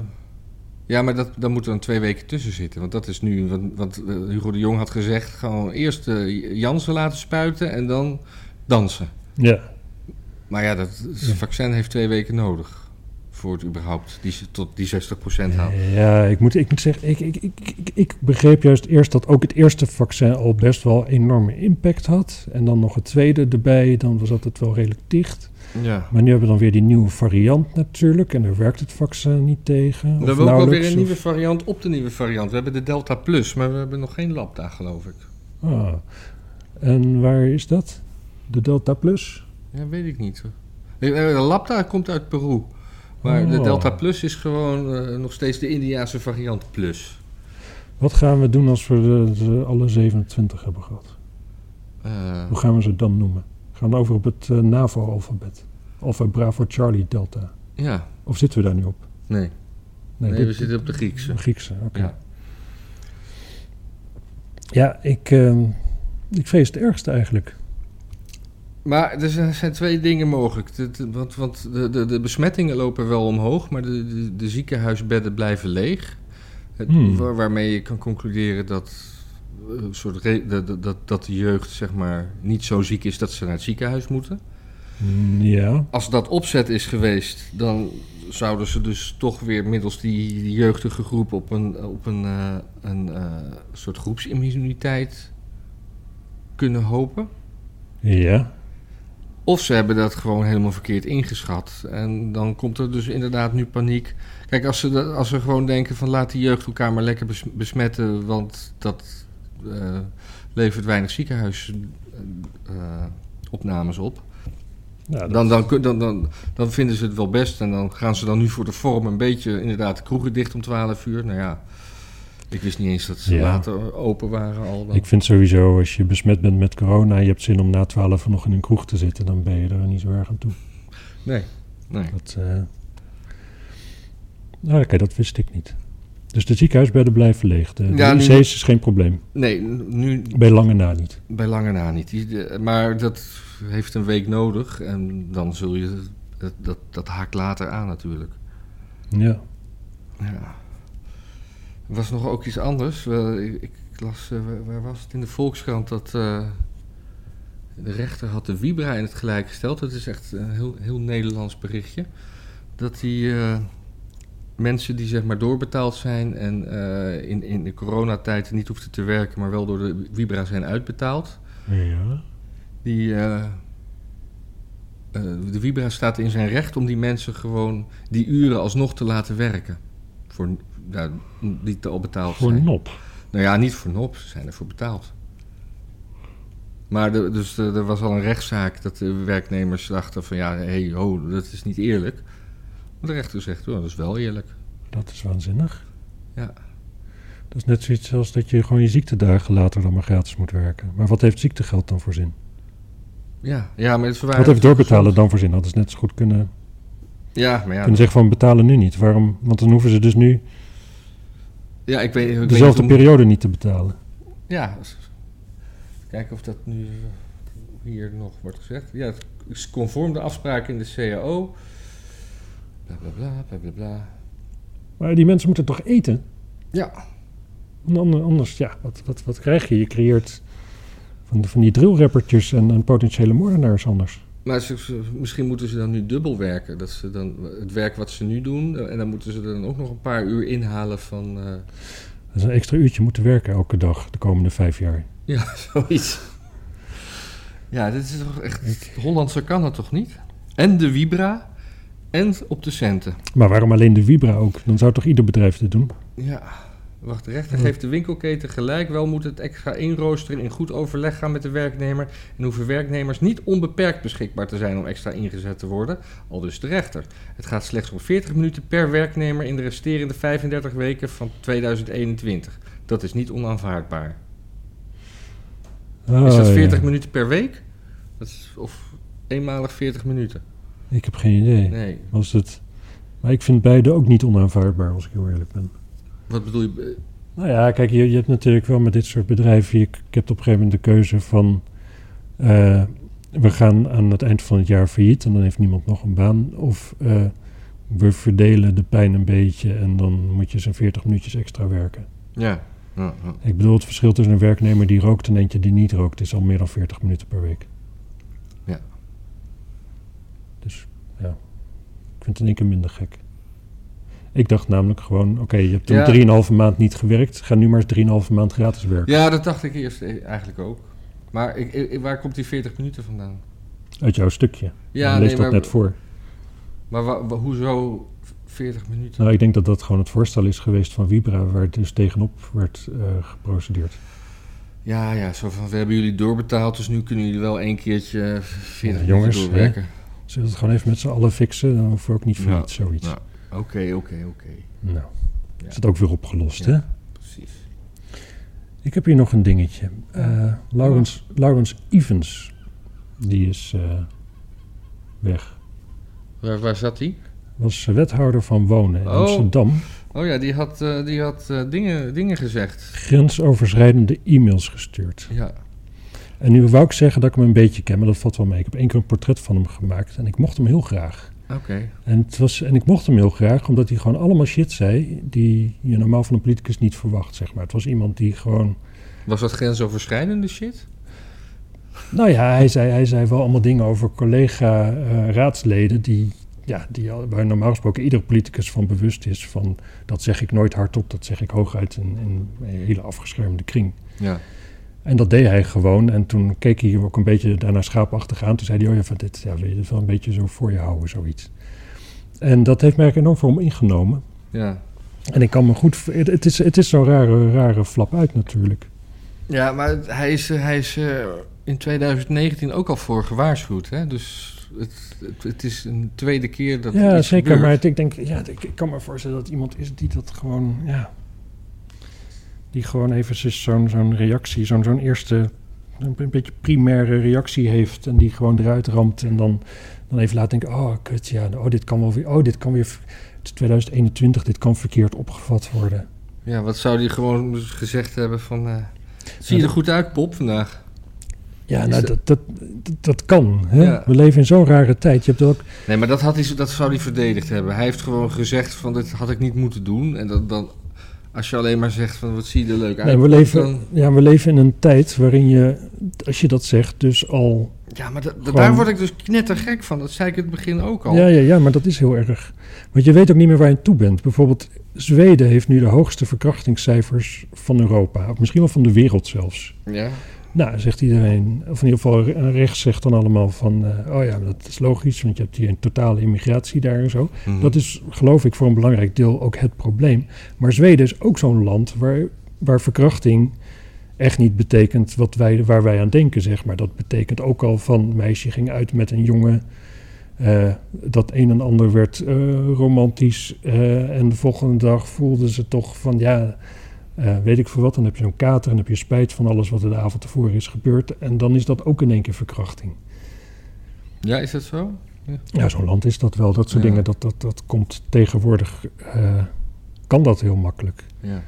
ja, maar dat, dan moet er dan twee weken tussen zitten. Want dat is nu... Want, want, eh, Hugo de Jong had gezegd... gewoon eerst eh, Jansen laten spuiten en dan dansen. Ja. Maar ja, dat het vaccin heeft twee weken nodig... voor het überhaupt die, ze- tot die 60% haalt. Ja, ik moet, ik moet zeggen, ik, ik, ik, ik, ik begreep juist eerst dat ook het eerste vaccin al best wel enorme impact had. En dan nog het tweede erbij, dan was dat het wel redelijk dicht. Ja. Maar nu hebben we dan weer die nieuwe variant natuurlijk. En daar werkt het vaccin niet tegen. We of hebben ook wel nauwelijks, weer een of- nieuwe variant op de nieuwe variant. We hebben de Delta Plus, maar we hebben nog geen Lambda, geloof ik. Ah. En waar is dat? De Delta Plus? Ja, weet ik niet. Eh, eh, De Lambda komt uit Peru. Maar de Oh. Delta Plus is gewoon eh, nog steeds de Indiaanse variant Plus. Wat gaan we doen als we de, de alle 27 hebben gehad? Eh, Hoe gaan we ze dan noemen? Gaan we over op het eh, NAVO-alfabet? Alpha, Bravo, Charlie, Delta. ja, Of zitten we daar nu op? nee. Nee, dit- we zitten op de Griekse. Griekse, oké. Ja. Ja, ik, eh, ik vrees het ergste eigenlijk. Maar dus er zijn zijn twee dingen mogelijk. De- de- Want, want de, de, de besmettingen lopen wel omhoog, maar de, de, de ziekenhuisbedden blijven leeg. Het- Hmm. waar- waarmee je kan concluderen dat, eh, een soort re- dat- dat- dat, dat de jeugd zeg maar, niet zo ziek is dat ze naar het ziekenhuis moeten. Hmm. Mm, ja, Als dat opzet is geweest, dan zouden ze dus toch weer middels die, die jeugdige groep op een, op een, eh, een eh, soort groepsimmuniteit kunnen hopen. ja. Nou, Of ze hebben dat gewoon helemaal verkeerd ingeschat. En dan komt er dus inderdaad nu paniek. Kijk, als ze, dat- als ze gewoon denken van laat die jeugd elkaar maar lekker bes- besmetten, want dat eh, levert weinig ziekenhuisopnames op. Ja, dat- Dan, dan, kun- dan, dan, dan vinden ze het wel best en dan gaan ze dan nu voor de vorm een beetje inderdaad de kroegen dicht om 12 uur. Nou ja, ik wist niet eens dat ze Ja. later open waren al. Dan. Ik vind sowieso, als je besmet bent met corona... je hebt zin om na twaalf nog in een kroeg te zitten... dan ben je er niet zo erg aan toe. Nee, nee. Dat, eh, Nou, oké, dat wist ik niet. Dus de ziekenhuisbedden blijven leeg. De, de Ja, nu- IC's is geen probleem. Nee, nu Bij lange na niet. bij lange na niet. Die- de- Maar dat heeft een week nodig en dan zul je... Dat, dat, dat haakt later aan natuurlijk. Ja. Ja. Er was nog ook iets anders. Wel, ik, ik las, eh, waar, waar was het in de Volkskrant, dat eh, de rechter had de Vibra in het gelijk gesteld. Dat is echt een heel, heel Nederlands berichtje. Dat die eh, mensen die zeg maar doorbetaald zijn en eh, in, in de coronatijd niet hoefden te werken, maar wel door de Vibra zijn uitbetaald. Ja. Die, eh, eh, de Vibra staat in zijn recht om die mensen gewoon die uren alsnog te laten werken. Voor, ja, die te al betaald Voor zijn. nop. Nou ja, niet voor nop, ze zijn ervoor betaald. Maar de- dus de- er was al een rechtszaak dat de werknemers dachten van ja, hé, hey, ho, dat is niet eerlijk. Maar de rechter zegt, oh, dat is wel eerlijk. Dat is waanzinnig. Ja. Dat is net zoiets als dat je gewoon je ziektedagen later dan maar gratis moet werken. Maar wat heeft ziektegeld dan voor zin? Ja, ja maar het wat verwaardigt heeft doorbetalen dan voor zin? Hadden ze net zo goed kunnen, Ja, maar ja, kunnen zeggen van betalen nu niet. Waarom? Want dan hoeven ze dus nu ja ik weet, ik weet niet dezelfde hoe- periode niet te betalen. Ja, als- kijken of dat nu eh, hier nog wordt gezegd. Ja, het is conform de afspraken in de CAO. Bla bla bla, bla bla bla. Maar die mensen moeten toch eten? Ja, Want ander- Anders, ja, wat, wat, wat krijg je? Je creëert van, van die drillrappertjes en, en potentiële moordenaars anders. maar ze- ze- misschien moeten ze dan nu dubbel werken. Dat ze dan het werk wat ze nu doen, eh, en dan moeten ze er dan ook nog een paar uur inhalen van. eh, Dat *laughs* is een extra uurtje moeten werken elke dag de komende vijf jaar. ja, zoiets. Ja, dit is toch echt. Hollandse kan het toch niet? En de Vibra, en op de centen. Maar waarom alleen de Vibra ook? Dan zou toch ieder bedrijf dit doen? Ja, Wacht, de Hm. rechter geeft de winkelketen gelijk. Wel moet het extra inroosteren in goed overleg gaan met de werknemer. En hoeven werknemers niet onbeperkt beschikbaar te zijn om extra ingezet te worden. Al dus de rechter. Het gaat slechts om 40 minuten per werknemer in de resterende 35 weken van 2021. Dat is niet onaanvaardbaar. Oh, is dat 40 ja. minuten per week? Dat is, of eenmalig 40 minuten? Ik heb geen idee. Nee. Was het... Maar ik vind beide ook niet onaanvaardbaar, als ik heel eerlijk ben. Wat bedoel je? Eh, Nou ja, kijk, je, je hebt natuurlijk wel met dit soort bedrijven. Je, ik heb op een gegeven moment de keuze van. eh, we gaan aan het eind van het jaar failliet en dan heeft niemand nog een baan. Of eh, we verdelen de pijn een beetje en dan moet je zo'n 40 minuutjes extra werken. Ja. Ja, ja. Ik bedoel, het verschil tussen een werknemer die rookt en eentje die niet rookt is al meer dan 40 minuten per week. Ja. Dus ja, ik vind het in één keer minder gek. Ik dacht namelijk gewoon, oké, je hebt Ja. toen 3,5 maand niet gewerkt. Ga nu maar eens 3,5 maand gratis werken. Ja, dat dacht ik eerst e- eigenlijk ook. Maar ik, ik- waar komt die 40 minuten vandaan? Uit jouw stukje. Ja, Ja, lees nee, dat maar- net voor. Maar wa- wa- hoezo 40 minuten? Nou, ik denk dat dat gewoon het voorstel is geweest van Vibra, waar dus tegenop werd eh, geprocedeerd. Ja, ja, zo van we hebben jullie doorbetaald, dus nu kunnen jullie wel één keertje eh, 40 Ja, minuten jongens, doorwerken. Zullen we het gewoon even met z'n allen fixen? Dan hoeven we ook niet voor Ja. niets zoiets. Ja. Oké, oké, oké. Nou, Ja. is het ook weer opgelost, Ja. hè? Precies. Ik heb hier nog een dingetje. Eh Laurens, Laurens Evans, die is eh, weg. Waar, waar zat die? Was wethouder van Wonen in Oh. Amsterdam. Oh ja, die had, eh, die had eh, dingen, dingen gezegd. Grensoverschrijdende e-mails gestuurd. Ja. En nu wou ik zeggen dat ik hem een beetje ken, maar dat valt wel mee. Ik heb één keer een portret van hem gemaakt en ik mocht hem heel graag. Oké. En, het was, en ik mocht hem heel graag, omdat hij gewoon allemaal shit zei die je normaal van een politicus niet verwacht, zeg maar. Het was iemand die gewoon... Was dat grensoverschrijdende shit? Nou ja, hij zei, hij zei wel allemaal dingen over collega-raadsleden die... Ja, die, al- waar normaal gesproken iedere politicus van bewust is van... dat zeg ik nooit hardop, dat zeg ik hooguit in, in een hele afgeschermde kring. Ja. En dat deed hij gewoon. En toen keek hij ook een beetje daarna schaapachtig aan. Toen zei hij, oh ja, van dit ja, wil je dit wel een beetje zo voor je houden, zoiets. En dat heeft mij enorm voor hem ingenomen. Ja. En ik kan me goed... v- Het het is, het is zo'n rare, rare flap uit natuurlijk. Ja, maar het- hij is, eh, hij is eh, in 2019 ook al voor gewaarschuwd. Hè? Dus het, het, het is een tweede keer dat ja, iets zeker. gebeurt. Maar het- ik denk, ja, ik, ik kan me voorstellen dat iemand is die dat gewoon... Ja, die gewoon eventjes zo'n zo'n reactie, zo'n zo'n eerste... Een, een beetje primaire reactie heeft en die gewoon eruit ramt. En dan, dan even laat denken, oh kut, ja, oh dit kan wel weer... Oh, dit kan weer... v- Het is 2021, dit kan verkeerd opgevat worden. Ja, wat zou hij gewoon gezegd hebben van... eh, zie je dat- er goed uit, Pop, vandaag? Ja, Is nou, dat, dat- dat, dat, dat kan. Hè? Ja. We leven in zo'n rare tijd. Je hebt ook Nee, maar dat, had hij, zo- dat zou hij verdedigd hebben. Hij heeft gewoon gezegd van, dit had ik niet moeten doen. En dat, dan, als je alleen maar zegt van, wat zie je er leuk uit. Nee, we leven, dan- ja, we leven in een tijd waarin je, als je dat zegt, dus al... ja, maar da- da- Gewoon- daar word ik dus knettergek van. Dat zei ik in het begin ook al. Ja, ja, ja, maar dat is heel erg. Want je weet ook niet meer waar je aan toe bent. Bijvoorbeeld Zweden heeft nu de hoogste verkrachtingscijfers van Europa. Of misschien wel van de wereld zelfs. Ja. Nou, zegt iedereen, of in ieder geval re- rechts zegt dan allemaal van... eh, oh ja, dat is logisch, want je hebt hier een totale immigratie daar en zo. Mhm. Dat is, geloof ik, voor een belangrijk deel ook het probleem. Maar Zweden is ook zo'n land waar, waar verkrachting echt niet betekent wat wij, waar wij aan denken, zeg maar. Dat betekent ook al van meisje ging uit met een jongen. eh, dat een en ander werd eh, romantisch. eh, en de volgende dag voelden ze toch van ja. eh, weet ik voor wat, dan heb je zo'n kater en heb je spijt van alles wat er de avond tevoren is gebeurd. En dan is dat ook in één keer verkrachting. ja, is dat zo? Ja, zo'n land is dat wel. Dat soort Ja. dingen, dat, dat, dat komt tegenwoordig, eh, kan dat heel makkelijk. Ja.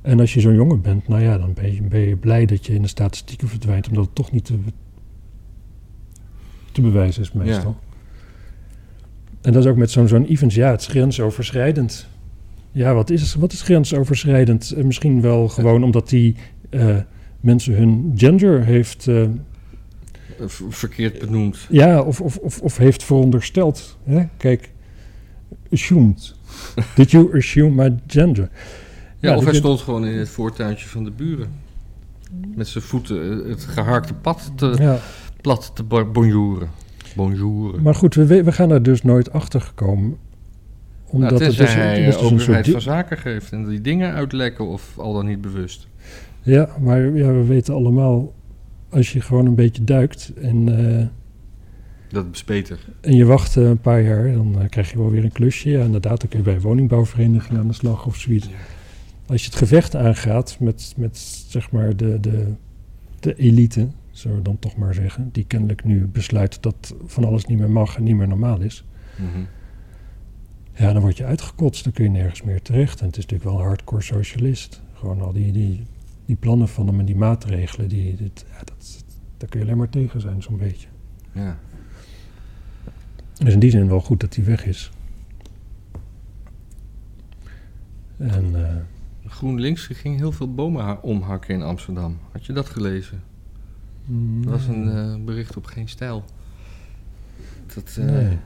En als je zo'n jongen bent, nou ja, dan ben je, ben je blij dat je in de statistieken verdwijnt, omdat het toch niet te, be- te bewijzen is meestal. En dat is ook met zo'n zo'n events, ja, het is grensoverschrijdend. Ja, wat is, wat is grensoverschrijdend? Eh, Misschien wel gewoon omdat die eh, mensen hun gender heeft eh, Eh, ver- Verkeerd benoemd. ja, of, of, of, of heeft verondersteld. Hè? Kijk, *laughs* assumed. Did you assume my gender? Ja, Ja, of dat hij je- stond gewoon in het voortuintje van de buren. Met zijn voeten eh, het geharkte pad te, Ja. plat te bo- bonjouren. Bonjouren. Maar goed, we, we we gaan er dus nooit achter gekomen. Nou, Omdat het tenzij dus, hij het eh, was dus een soort... openheid di- van zaken geeft en die dingen uitlekken of al dan niet bewust. Ja, maar ja, we weten allemaal... als je gewoon een beetje duikt en, eh, Dat is beter. en je wacht eh, een paar jaar... dan eh, krijg je wel weer een klusje. Ja, inderdaad, dan kun je bij een woningbouwvereniging aan de slag of zoiets. Ja. Als je het gevecht aangaat met, met zeg maar de, de, de elite... zullen we dan toch maar zeggen... die kennelijk nu besluit dat van alles niet meer mag en niet meer normaal is... Mhm. Ja, dan word je uitgekotst, dan kun je nergens meer terecht. En het is natuurlijk wel een hardcore socialist. Gewoon al die, die, die plannen van hem en die maatregelen, die, dit, ja, dat, daar kun je alleen maar tegen zijn, zo'n beetje. Ja. Dus in die zin wel goed dat hij weg is. En eh, GroenLinks ging heel veel bomen ha- omhakken in Amsterdam. Had je dat gelezen? mm, Dat was een eh, bericht op geen stijl. Dat, eh, nee.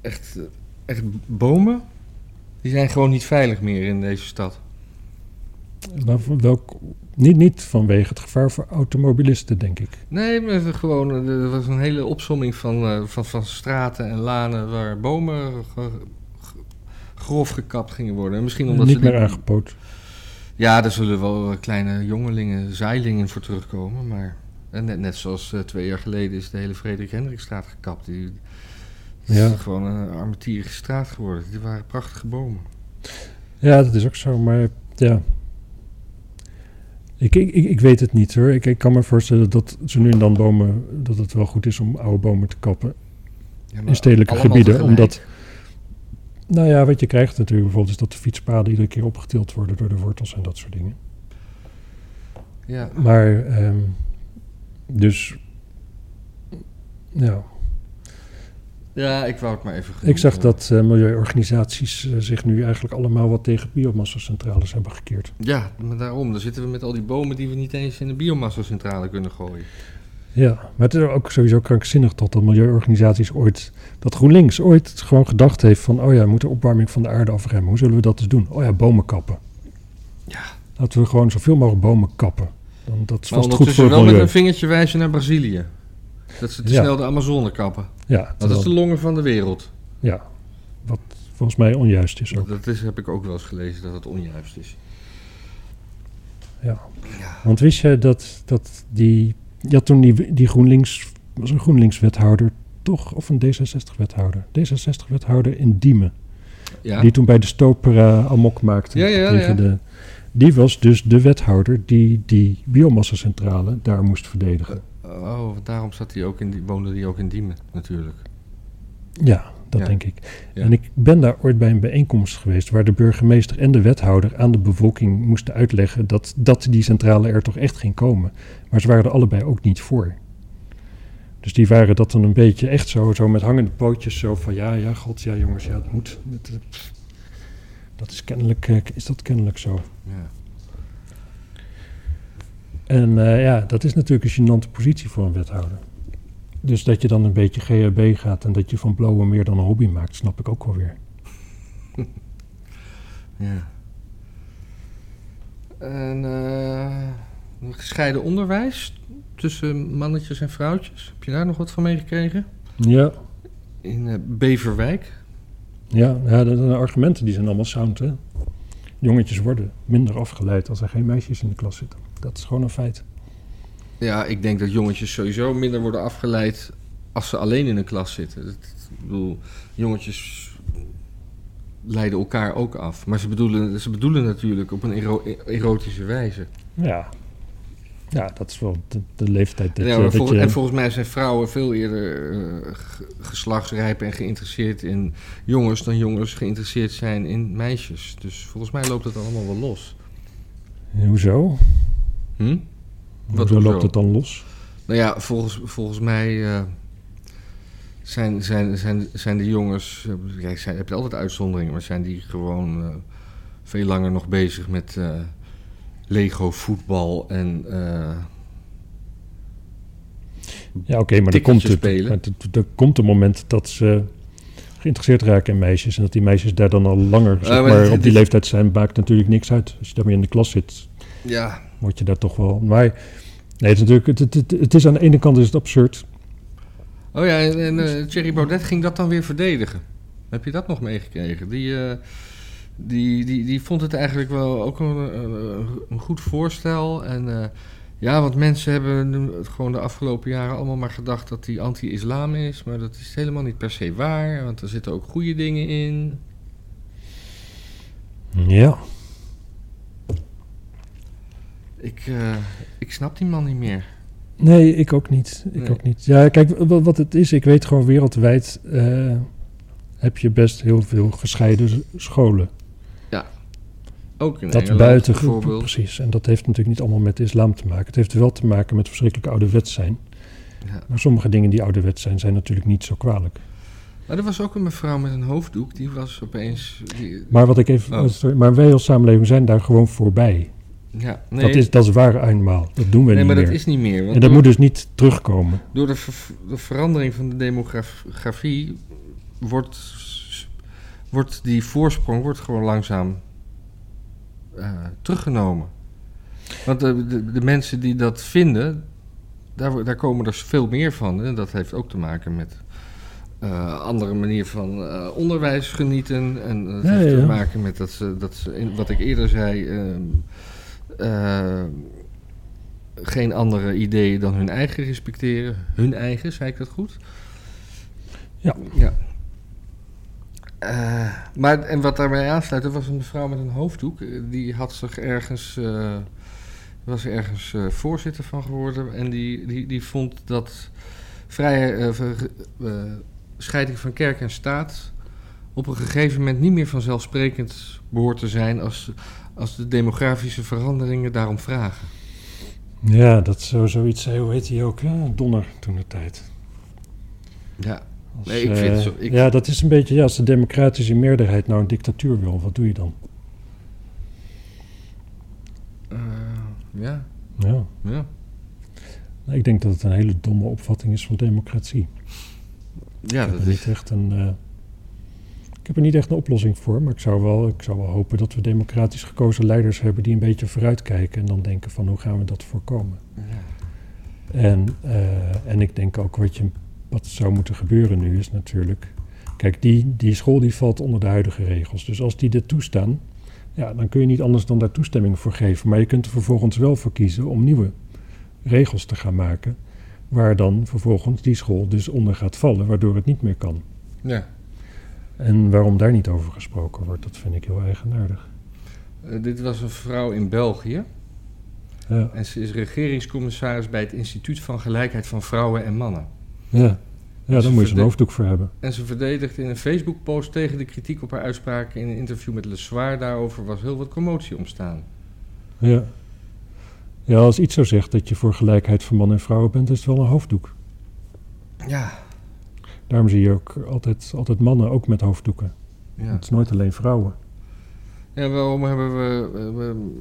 echt, eh, echt bomen, die zijn gewoon niet veilig meer in deze stad. Maar voor welk, niet, niet vanwege het gevaar voor automobilisten, denk ik. Nee, maar ze gewoon, eh, er was een hele opsomming van, eh, van, van straten en lanen waar bomen ge- ge- grof gekapt gingen worden. En misschien omdat niet ze die- meer aangepoot. Ja, daar zullen wel eh, kleine jongelingen, zeilingen voor terugkomen. Maar en net, net zoals eh, twee jaar geleden is de hele Frederik Hendrikstraat gekapt. Die, dat Ja. is gewoon een armetierige straat geworden. Die waren prachtige bomen. Ja, dat is ook zo, maar ja. Ik, ik, ik ik weet het niet hoor. Ik, ik kan me voorstellen dat ze nu en dan bomen, dat het wel goed is om oude bomen te kappen. Ja, In stedelijke Nou, allemaal gebieden, tegelijk. omdat- Nou ja, wat je krijgt natuurlijk bijvoorbeeld is dat de fietspaden iedere keer opgetild worden door de wortels en dat soort dingen. Ja, Maar, ehm, dus, ja. ja, ik wou het maar even Ik genoemd zag hebben. dat eh, milieuorganisaties eh, zich nu eigenlijk allemaal wat tegen biomassacentrales hebben gekeerd. Ja, maar daarom. Dan zitten we met al die bomen die we niet eens in de biomassa-centrale kunnen gooien. Ja, maar het is ook sowieso krankzinnig dat de milieuorganisaties ooit, dat GroenLinks ooit gewoon gedacht heeft van, oh ja, we moeten de opwarming van de aarde afremmen. Hoe zullen we dat dus doen? Oh ja, bomen kappen. Ja. Laten we gewoon zoveel mogelijk bomen kappen. Dan, dat is Maar vast goed voor ondertussen het wel met milieu. een vingertje wijzen naar Brazilië. Dat ze te Ja. snel de Amazone kappen. Ja, Dat is terwijl- de longen van de wereld. ja, wat volgens mij onjuist is ook. Dat is, heb ik ook wel eens gelezen dat het onjuist is. Ja. Ja. Want wist je dat, dat die, je had toen die, die GroenLinks, was een GroenLinks-wethouder toch, of een D66-wethouder? D66-wethouder in Diemen. Ja, Die toen bij de stoper eh, amok maakte. Ja, ja, tegen ja. De, die was dus de wethouder die die biomassacentrale daar moest verdedigen. oh, daarom zat hij ook in die, woonde hij ook in Diemen natuurlijk. Ja, dat Ja. denk ik. Ja. En ik ben daar ooit bij een bijeenkomst geweest waar de burgemeester en de wethouder aan de bevolking moesten uitleggen dat, dat die centrale er toch echt ging komen. Maar ze waren er allebei ook niet voor. Dus die waren dat dan een beetje echt zo, zo met hangende pootjes, zo van ja, ja, god, ja jongens, ja, het moet. Het, eh, pff. Dat is kennelijk, eh, is dat kennelijk zo. Ja. En eh, ja, dat is natuurlijk een gênante positie voor een wethouder. Dus dat je dan een beetje GHB gaat en dat je van blauwe meer dan een hobby maakt, snap ik ook wel weer. ja. En eh, gescheiden onderwijs tussen mannetjes en vrouwtjes. Heb je daar nog wat van meegekregen? Ja, In eh, Beverwijk. ja, ja de, de argumenten die zijn allemaal sound, hè. Jongetjes worden minder afgeleid als er geen meisjes in de klas zitten. Dat is gewoon een feit. Ja, ik denk dat jongetjes sowieso minder worden afgeleid als ze alleen in een klas zitten. Dat, ik bedoel, jongetjes leiden elkaar ook af. Maar ze bedoelen, ze bedoelen natuurlijk op een ero- erotische wijze. Ja, ja dat is wel de, de leeftijd dat, ja, je- maar dat vol- je... En volgens mij zijn vrouwen veel eerder eh, ge- geslachtsrijp en geïnteresseerd in jongens dan jongens geïnteresseerd zijn in meisjes. Dus volgens mij loopt dat allemaal wel los. Hoezo? Hm? Hoezo hoezo? loopt het dan los? Nou ja, volgens, volgens mij eh, zijn, zijn, zijn, zijn de jongens, eh, ja, zijn, heb je altijd uitzonderingen, maar zijn die gewoon eh, veel langer nog bezig met eh, Lego voetbal en eh, Ja, oké, maar er komt, Tikkeltje het, spelen. maar het- er komt een moment dat ze geïnteresseerd raken in meisjes. En dat die meisjes daar dan al langer zeg maar maar, dit- op die dit- leeftijd zijn, maakt natuurlijk niks uit. Als je daarmee in de klas zit, ja, word je daar toch wel. Maar nee, het is natuurlijk, het, het, het, het is aan de ene kant is het absurd. oh ja, en, en eh, Thierry Baudet ging dat dan weer verdedigen. Heb je dat nog meegekregen? Die, eh, die, die, die vond het eigenlijk wel ook een, eh, een goed voorstel. En eh, ja, want mensen hebben nu het gewoon de afgelopen jaren allemaal maar gedacht dat die anti-islam is. Maar dat is helemaal niet per se waar, want er zitten ook goede dingen in. Ja. Ik, eh, ik snap die man niet meer. Nee, ik ook niet. Ik Nee. ook niet. Ja, kijk, wa- wat het is, ik weet gewoon wereldwijd eh, heb je best heel veel gescheiden s- scholen. Ook in dat Engeland buiten bijvoorbeeld. precies. En dat heeft natuurlijk niet allemaal met de islam te maken. Het heeft wel te maken met verschrikkelijk ouderwet zijn. Ja. Maar sommige dingen die ouderwet zijn, zijn natuurlijk niet zo kwalijk. Maar er was ook een mevrouw met een hoofddoek, die was opeens... Die, Maar wat ik even. eh, Oh. sorry, maar wij als samenleving zijn daar gewoon voorbij. ja, nee, Dat, is, dat is waar eenmaal. Dat doen we nee niet maar meer. dat is niet meer. Want en dat door, moet dus niet terugkomen. door de, ver- de verandering van de demografie wordt, wordt die voorsprong wordt gewoon langzaam eh, teruggenomen. Want de, de, de mensen die dat vinden, daar, wo- daar komen er veel meer van. En dat heeft ook te maken met eh, andere manier van eh, onderwijs genieten. En dat Ja, heeft ja, te ja. maken met dat ze, dat ze in- wat ik eerder zei, ehm, eh, geen andere ideeën dan hun eigen respecteren. Hun eigen, zei ik dat goed? Ja. ja. Eh, maar, en wat daarmee aansluit, er was een mevrouw met een hoofddoek. eh, Die had zich ergens, eh, was ergens eh, voorzitter van geworden. En die, die, die vond dat vrije eh, ver- eh, scheiding van kerk en staat op een gegeven moment niet meer vanzelfsprekend behoort te zijn als, als de demografische veranderingen daarom vragen. Ja, dat zo, zoiets. zei, Hoe heet die ook? hè? Donner toen de tijd. Ja, Als, Nee, ik vind eh, zo- ik- Ja, dat is een beetje, ja, als de democratische meerderheid nou een dictatuur wil, wat doe je dan? eh, ja, Ja. ja. Nou, Ik denk dat het een hele domme opvatting is van democratie. Ja, ik, heb dat er is, niet echt een, eh, ik heb er niet echt een oplossing voor, maar ik zou, wel, ik zou wel hopen dat we democratisch gekozen leiders hebben die een beetje vooruitkijken en dan denken van hoe gaan we dat voorkomen. ja. En, eh, en ik denk ook wat, je, wat zou moeten gebeuren nu is natuurlijk. Kijk, die, die school die valt onder de huidige regels. Dus als die dit toestaan, ja, dan kun je niet anders dan daar toestemming voor geven. Maar je kunt er vervolgens wel voor kiezen om nieuwe regels te gaan maken. Waar dan vervolgens die school dus onder gaat vallen, waardoor het niet meer kan. ja. En waarom daar niet over gesproken wordt, dat vind ik heel eigenaardig. Eh, dit was een vrouw in België. Ja, En ze is regeringscommissaris bij het Instituut van Gelijkheid van Vrouwen en Mannen. ja. ja daar Ze moet je zo'n verde- hoofddoek voor hebben. En ze verdedigde in een Facebook-post tegen de kritiek op haar uitspraken. In een interview met Le Soir daarover was heel wat commotie ontstaan. Ja. ja, als iets zo zegt dat je voor gelijkheid van man en vrouw bent, is het wel een hoofddoek. Ja, Daarom zie je ook altijd, altijd mannen ook met hoofddoeken. ja. Het is nooit alleen vrouwen. Ja, waarom hebben we, eh, we-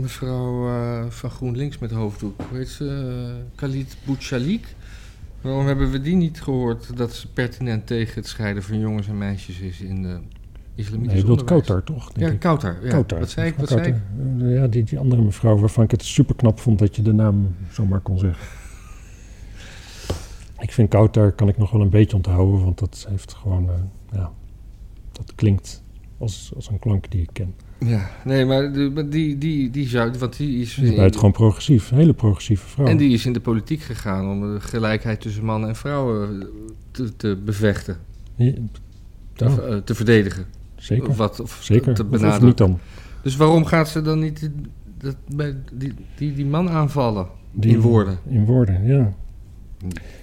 mevrouw eh, van GroenLinks met hoofddoek? Hoe heet ze? eh, Khalid Bouchalik? Waarom hebben we die niet gehoord dat ze pertinent tegen het scheiden van jongens en meisjes is in de Nee, je islamitische bedoelt onderwijs? Kotar, toch? denk Ja, ik? Kautar. Ja. Kotar. Wat zei ik? Wat Mevrouw zei ik? Kotar. Ja, die, die andere mevrouw waarvan ik het superknap vond dat je de naam zomaar kon zeggen. Ik vind Kouter kan ik nog wel een beetje onthouden, want dat heeft gewoon, eh, ja, dat klinkt als, als een klank die ik ken. Ja, nee, maar de- maar die, die, die zou... Want die is... Ze is in- buitengewoon progressief, een hele progressieve vrouw. en die is in de politiek gegaan om de gelijkheid tussen mannen en vrouwen te, te bevechten. Ja, Te, eh, te verdedigen. zeker. Of Wat, of Zeker. te Of- Of, benadrukken. niet dan? Dus waarom gaat ze dan niet die- dat, bij die, die, die man aanvallen? Die- in woorden. In woorden, ja.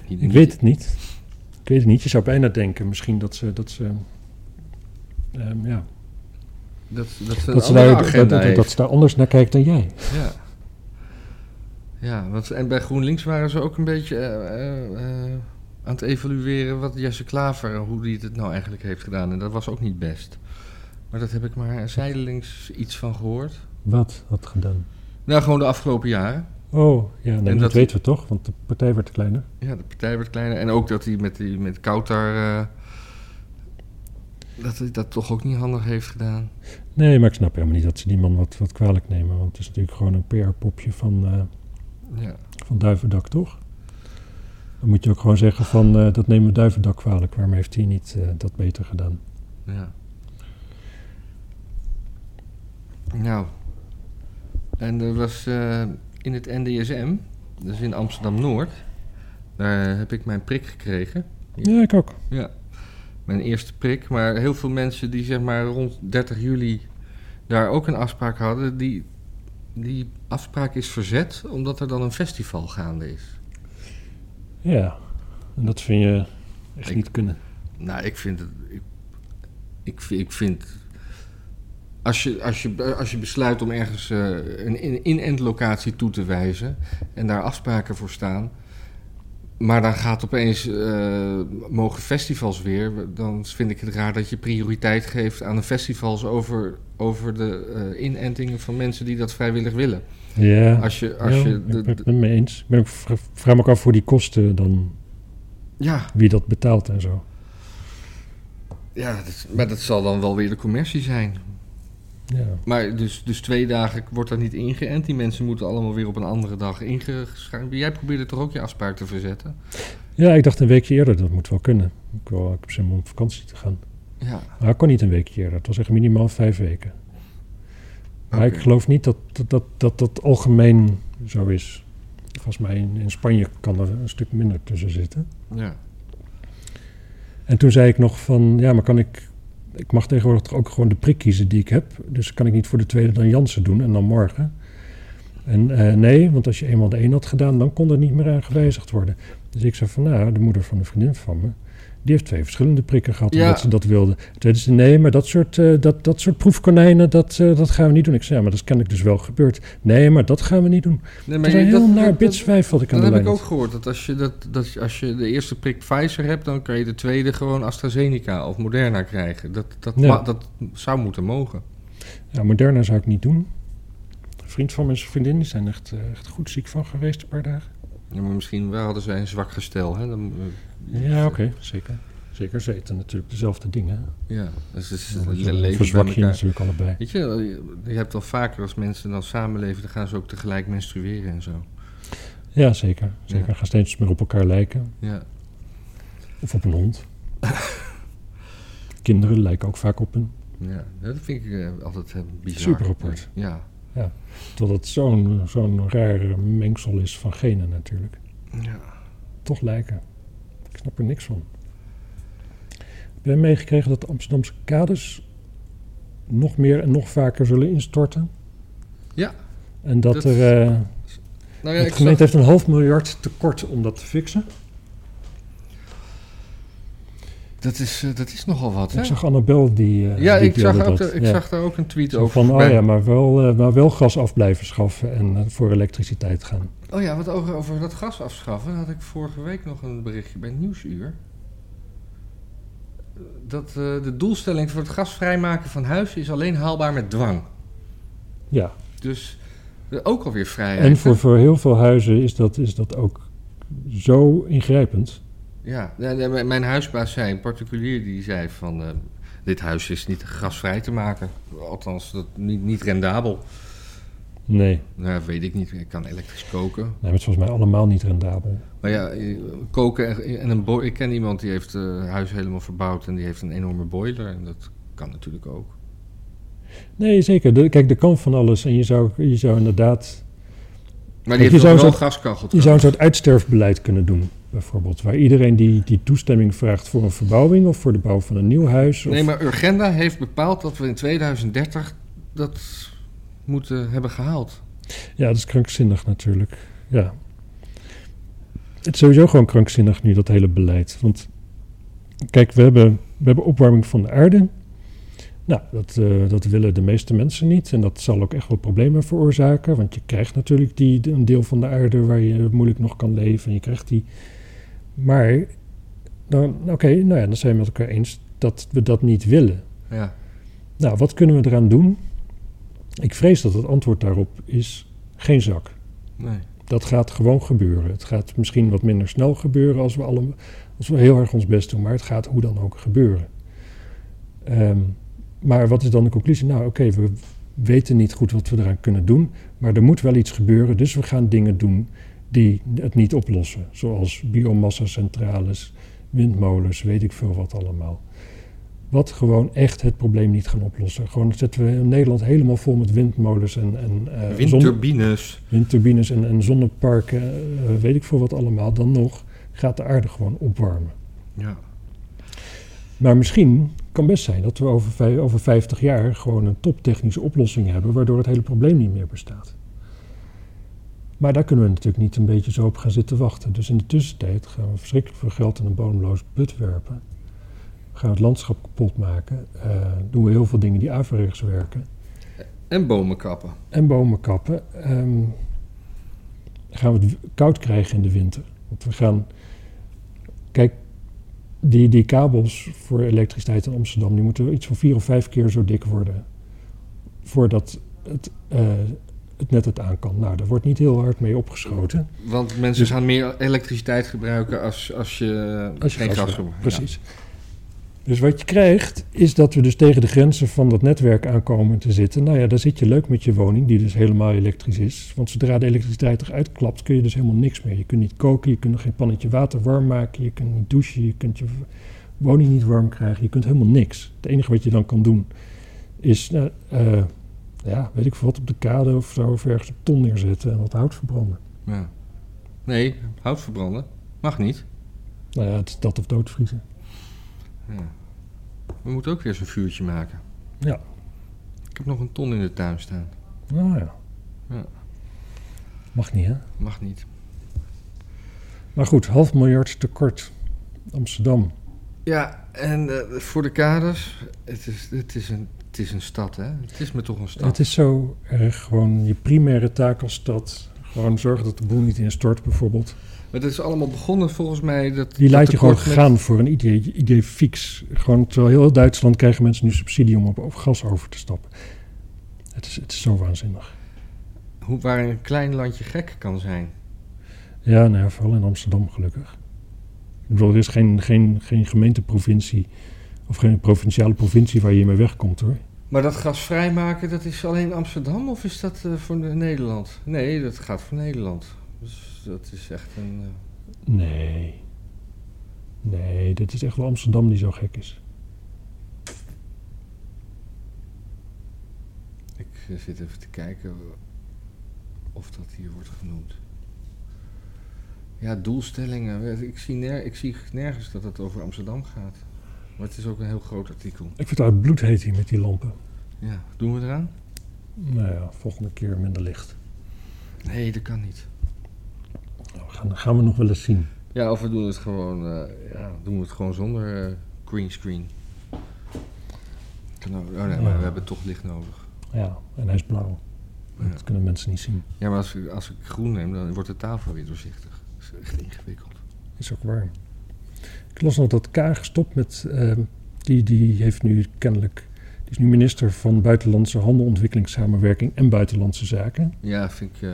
Ik weet het niet. Ik weet het niet. Je zou bijna denken misschien dat ze... Dat ze ehm, ja, Dat, dat ze een dat, ze andere daar, dat, agenda dat, dat- dat heeft. ze daar anders naar kijkt dan jij. Ja. Ja, want, en bij GroenLinks waren ze ook een beetje eh, eh, eh, aan het evalueren wat Jesse Klaver, hoe die het nou eigenlijk heeft gedaan. En dat was ook niet best. Maar dat heb ik maar zijdelings iets van gehoord. Wat had gedaan? Nou, gewoon de afgelopen jaren. Oh, ja, nee, En dat, dat- weten we toch, want de partij werd kleiner. Ja, de partij werd kleiner. En ook dat hij met, die, met Kautar, eh, dat hij dat toch ook niet handig heeft gedaan. Nee, maar ik snap helemaal niet dat ze die man wat, wat kwalijk nemen. Want het is natuurlijk gewoon een PR-popje van, eh Ja. van Duivendak, toch? Dan moet je ook gewoon zeggen van, eh, dat nemen we duivendak kwalijk. Waarom heeft hij niet eh, dat beter gedaan? Ja. Nou, en er was eh, in het NDSM, dus in Amsterdam Noord, daar heb ik mijn prik gekregen. Ja, ik ook. Ja, mijn eerste prik. Maar heel veel mensen die zeg maar rond 30 juli daar ook een afspraak hadden, die, die afspraak is verzet omdat er dan een festival gaande is. Ja, en dat vind je echt Ik- niet kunnen. Nou, ik vind het. Ik, ik, vi- ik vind. Als je, als, je, als je besluit om ergens eh, een in- in-end-locatie toe te wijzen en daar afspraken voor staan, maar dan gaat opeens eh, mogen festivals weer, dan vind ik het raar dat je prioriteit geeft aan de festivals over, over de eh, inentingen van mensen die dat vrijwillig willen. Ja, Als je, als ja, je de- ik ben de- het mee eens. Ik ben ook, vra- vraag me ook af voor die kosten dan, ja, wie dat betaalt en zo. ja dat- maar dat zal dan wel weer de commercie zijn. Ja, Maar dus, dus twee dagen wordt daar niet ingeënt. Die mensen moeten allemaal weer op een andere dag ingeschreven. Jij probeerde toch ook je afspraak te verzetten? ja ik dacht een weekje eerder, dat moet wel kunnen. Ik, wil, ik heb zin om op vakantie te gaan. Ja. Maar ik kon niet een weekje eerder, het was echt minimaal vijf weken. Maar Oké. ik geloof niet dat dat, dat, dat dat algemeen zo is. Volgens mij in, in Spanje kan er een stuk minder tussen zitten. ja. En toen zei ik nog van, ja, maar kan ik... Ik mag tegenwoordig toch ook gewoon de prik kiezen die ik heb. Dus kan ik niet voor de tweede dan Jansen doen en dan morgen. En eh, nee, want als je eenmaal de een had gedaan, dan kon er niet meer aan gewijzigd worden. Dus ik zei van, nou, de moeder van een vriendin van me... die heeft twee verschillende prikken gehad, Ja. omdat ze dat wilde. Toen zei ze, nee, maar dat soort, eh, dat, dat soort proefkonijnen, dat, eh, dat gaan we niet doen. Ik zei, ja, maar dat is kennelijk dus wel gebeurd. Nee, maar dat gaan we niet doen. Nee, Dat was een je- heel naar dat- bitswijf wat ik aan Dat de heb lijn ik ook had. gehoord. Dat als, je dat, dat als je de eerste prik Pfizer hebt, dan kan je de tweede gewoon AstraZeneca of Moderna krijgen. Dat, dat, Ja. ma- dat zou moeten mogen. Ja, Nou, Moderna zou ik niet doen. Een vriend van mijn vriendin, die zijn echt, eh, echt goed ziek van geweest een paar dagen. Ja, maar misschien wel hadden zij een zwak gestel. Hè? Dan, eh, Ja, oké, zeker. Zeker, ze eten natuurlijk dezelfde dingen. Ja, dus het is hè. le- Dan leven verzwak bij je elkaar. natuurlijk allebei. Weet je, je hebt al vaker als mensen dan samenleven, dan gaan ze ook tegelijk menstrueren en zo. Ja, zeker. Zeker, Ja. gaan steeds meer op elkaar lijken. Ja. Of op een hond. Kinderen lijken ook vaak op een... Ja, dat vind ik eh, altijd eh, bizar. Super apart. Ja. Terwijl het zo'n zo'n raar mengsel is van genen natuurlijk. ja. Toch lijken. Ik snap er niks van. Heb jij meegekregen dat de Amsterdamse kades nog meer en nog vaker zullen instorten? Ja. En dat, Dat- er... eh, Nou ja, de ik gemeente zag, heeft een half miljard tekort om dat te fixen. dat, is, eh, dat is nogal wat, hè? Ik zag Annabel die. eh, ja, die ik, zag, deelde ook, dat. de- ik Ja. zag daar ook een tweet Zo over. Van, oh voorbij. ja, maar wel, eh, maar wel gas af blijven schaffen en eh, voor elektriciteit gaan. oh ja, wat over, over dat gas afschaffen daar had ik vorige week nog een berichtje bij Nieuwsuur. Dat eh, de doelstelling voor het gasvrijmaken van huizen is alleen haalbaar met dwang. Ja, Dus eh, ook alweer vrijheid. en hè? voor, voor heel veel huizen is dat, is dat ook zo ingrijpend. Ja, ja, ja, mijn- mijn huisbaas zei, een particulier, die zei van... eh, dit huis is niet gasvrij te maken. Althans, dat, niet, niet rendabel. Nee, Nou, weet ik niet. Ik kan elektrisch koken. nee, maar het is volgens mij allemaal niet rendabel. Maar ja, eh, koken en- en een boiler... Ik ken iemand die heeft het huis helemaal verbouwd... en die heeft een enorme boiler. En dat kan natuurlijk ook. Nee, zeker. De, kijk, er kan van alles. En je zou, je zou inderdaad Maar je die heeft zou ook wel zo- een gaskachel. je zou een soort uitsterfbeleid kunnen doen. Bijvoorbeeld, waar iedereen die, die toestemming vraagt voor een verbouwing of voor de bouw van een nieuw huis. Of, Nee, maar Urgenda heeft bepaald dat we in 2030 dat moeten hebben gehaald. Ja, dat is krankzinnig natuurlijk. Ja. Het is sowieso gewoon krankzinnig nu, dat hele beleid. Want kijk, we hebben, we hebben opwarming van de aarde. Nou, dat, eh, dat willen de meeste mensen niet. En dat zal ook echt wel problemen veroorzaken. Want je krijgt natuurlijk die, de- een deel van de aarde waar je moeilijk nog kan leven. En je krijgt die. Maar, dan, oké, nou ja, dan zijn we met elkaar eens dat we dat niet willen. Ja, Nou, wat kunnen we eraan doen? Ik vrees dat het antwoord daarop is geen zak. nee. Dat gaat gewoon gebeuren. Het gaat misschien wat minder snel gebeuren als we, alle, als we heel erg ons best doen, maar het gaat hoe dan ook gebeuren. Ehm, maar wat is dan de conclusie? Nou, oké, we weten niet goed wat we eraan kunnen doen, maar er moet wel iets gebeuren, dus we gaan dingen doen die het niet oplossen. Zoals biomassacentrales, windmolens, weet ik veel wat allemaal. Wat gewoon echt het probleem niet gaan oplossen. Gewoon zetten we in Nederland helemaal vol met windmolens en, en eh, zon- Windturbines. windturbines en, en zonneparken, eh, weet ik veel wat allemaal. Dan nog gaat de aarde gewoon opwarmen. Ja. Maar misschien kan best zijn dat we over, vij- over 50 jaar gewoon een toptechnische oplossing hebben, waardoor het hele probleem niet meer bestaat. Maar daar kunnen we natuurlijk niet een beetje zo op gaan zitten wachten. Dus in de tussentijd gaan we verschrikkelijk veel geld in een bodemloos put werpen. Gaan we het landschap kapot maken. eh, doen we heel veel dingen die averechts werken. En bomen kappen. En bomen kappen. ehm, gaan we het w- koud krijgen in de winter. Want we gaan... Kijk, die, die kabels voor elektriciteit in Amsterdam... die moeten iets van vier of vijf keer zo dik worden... voordat het, eh, het net het aan kan. Nou, daar wordt niet heel hard mee opgeschoten. Want mensen Dus- gaan meer elektriciteit gebruiken als, als je, Als je geen gas gas wil. gebruikt. Precies. Dus wat je krijgt, is dat we dus tegen de grenzen van dat netwerk aankomen te zitten. Nou ja, daar zit je leuk met je woning, die dus helemaal elektrisch is. Want zodra de elektriciteit eruit klapt, kun je dus helemaal niks meer. Je kunt niet koken, je kunt nog geen pannetje water warm maken, je kunt niet douchen, je kunt je woning niet warm krijgen. Je kunt helemaal niks. Het enige wat je dan kan doen, is, nou, eh, ja, weet ik veel wat, op de kade of zo, of ergens op ton neerzetten en wat hout verbranden. Ja. Ja. Nee, hout verbranden. Mag niet. Nou ja, het is dat of doodvriezen. Ja. We moeten ook weer zo'n vuurtje maken. Ja. Ik heb nog een ton in de tuin staan. Nou ja. Ja. Mag niet, hè? Mag niet. Maar goed, half miljard tekort. Amsterdam. Ja, en eh, voor de kaders, het is, het, is een, het is een stad, hè? Het is me toch een stad. Het is zo erg gewoon je primaire taak als stad. Gewoon zorgen dat de boel niet instort, bijvoorbeeld. Maar het is allemaal begonnen volgens mij... Dat, Die laat dat je gewoon tekort met- gaan voor een idee, idee fix. Gewoon, terwijl heel Duitsland krijgen mensen nu subsidie om op, op gas over te stappen. Het is, het is zo waanzinnig. Hoe, waar een klein landje gek kan zijn. Ja, nou ja, vooral in Amsterdam gelukkig. Ik bedoel, er is geen, geen, geen gemeenteprovincie of geen provinciale provincie waar je hiermee wegkomt hoor. Maar dat gas vrijmaken, dat is alleen Amsterdam of is dat eh, voor Nederland? Nee, dat gaat voor Nederland. Dus dat is echt een... eh, Nee. Nee, dit is echt wel Amsterdam die zo gek is. Ik eh, zit even te kijken of dat hier wordt genoemd. Ja, doelstellingen. Ik zie, ner- ik zie nergens dat het over Amsterdam gaat. Maar het is ook een heel groot artikel. Ik vind het uit bloed heet hier met die lampen. Ja, doen we eraan? Nou ja, volgende keer minder licht. Nee, dat kan niet. Nou, gaan, gaan we nog wel eens zien. Ja, of we doen het gewoon, eh, ja, doen we het gewoon zonder eh greenscreen. Kan ook- Oh nee, maar Ja. we hebben toch licht nodig. Ja, en hij is blauw. Ja. Dat kunnen mensen niet zien. Ja, maar als ik, als ik groen neem, dan wordt de tafel weer doorzichtig. Dat is echt ingewikkeld. Is ook warm. Ik las nog dat K gestopt met. eh, die, die heeft nu kennelijk. Die is nu minister van Buitenlandse Handel, Ontwikkelingssamenwerking en Buitenlandse Zaken. Ja, vind ik... eh,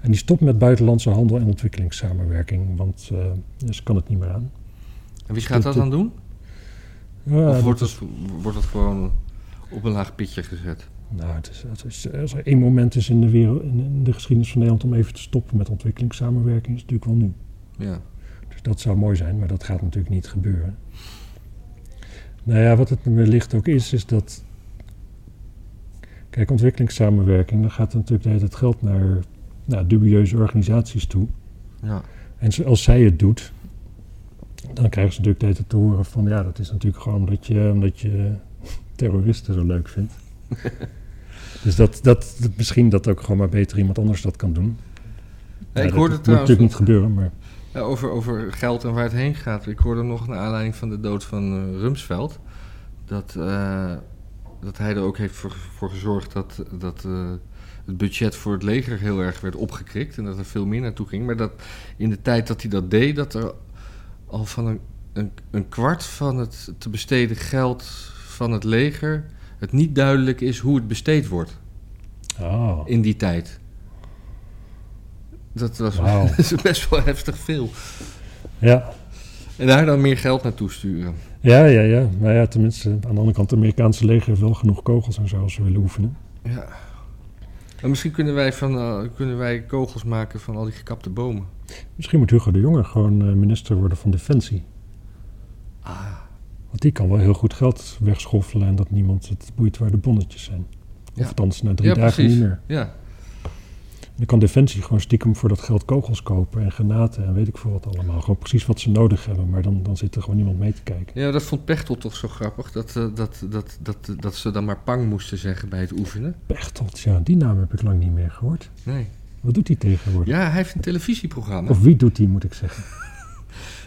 En die stopt met buitenlandse handel en ontwikkelingssamenwerking, want eh, ze kan het niet meer aan. en wie gaat dat dan doen? Ja, of wordt het, wordt het gewoon op een laag pitje gezet? Nou, het is, het is, als er één moment is in de, wereld, in, in de geschiedenis van Nederland om even te stoppen met ontwikkelingssamenwerking, is het natuurlijk wel nu. Ja. Dus dat zou mooi zijn, maar dat gaat natuurlijk niet gebeuren. Nou ja, wat het wellicht ook is, is dat. Kijk, ontwikkelingssamenwerking, dan gaat natuurlijk de hele tijd geld naar nou, dubieuze organisaties toe. ja. En zo- als zij het doet, dan krijgen ze natuurlijk de hele tijd te horen van... ja, dat is natuurlijk gewoon omdat je, omdat je *laughs* terroristen zo leuk *laughs* vindt. dus dat, dat, dat- misschien dat ook gewoon maar beter iemand anders dat kan doen. Ja, ik dat- hoorde dat trouwens moet natuurlijk niet gebeuren, maar... ja, over, over geld en waar het heen gaat. Ik hoorde nog naar aanleiding van de dood van eh, Rumsfeld... Dat, eh, dat hij er ook heeft voor, voor gezorgd dat, dat eh, het budget voor het leger heel erg werd opgekrikt... en dat er veel meer naartoe ging. Maar dat in de tijd dat hij dat deed, dat er al van een, een, een kwart van het te besteden geld van het leger... het niet duidelijk is hoe het besteed wordt. Ah, in die tijd. Dat was Wauw. dat is *laughs* best wel heftig veel. ja. En daar dan meer geld naartoe sturen. Ja, ja, ja. Maar ja, tenminste, aan de andere kant, het Amerikaanse leger heeft wel genoeg kogels en zo als ze willen oefenen. Ja. Maar misschien kunnen wij, van, eh, kunnen wij kogels maken van al die gekapte bomen. Misschien moet Hugo de Jonge gewoon eh, minister worden van Defensie. Ah, Want die kan wel heel goed geld wegschoffelen en dat niemand het boeit waar de bonnetjes zijn. Ja. Of althans, na drie Ja, dagen precies. niet meer. ja. En dan kan Defensie gewoon stiekem voor dat geld kogels kopen en granaten en weet ik veel wat allemaal. Gewoon precies wat ze nodig hebben, maar dan, dan zit er gewoon niemand mee te kijken. Ja, dat vond Pechtel toch zo grappig. Dat, eh, dat, dat, dat, dat ze dan maar pang moesten zeggen bij het oefenen. Pechtold, ja, die naam heb ik lang niet meer gehoord. Nee. Wat doet hij tegenwoordig? Ja, hij heeft een televisieprogramma. Of wie doet die, moet ik zeggen.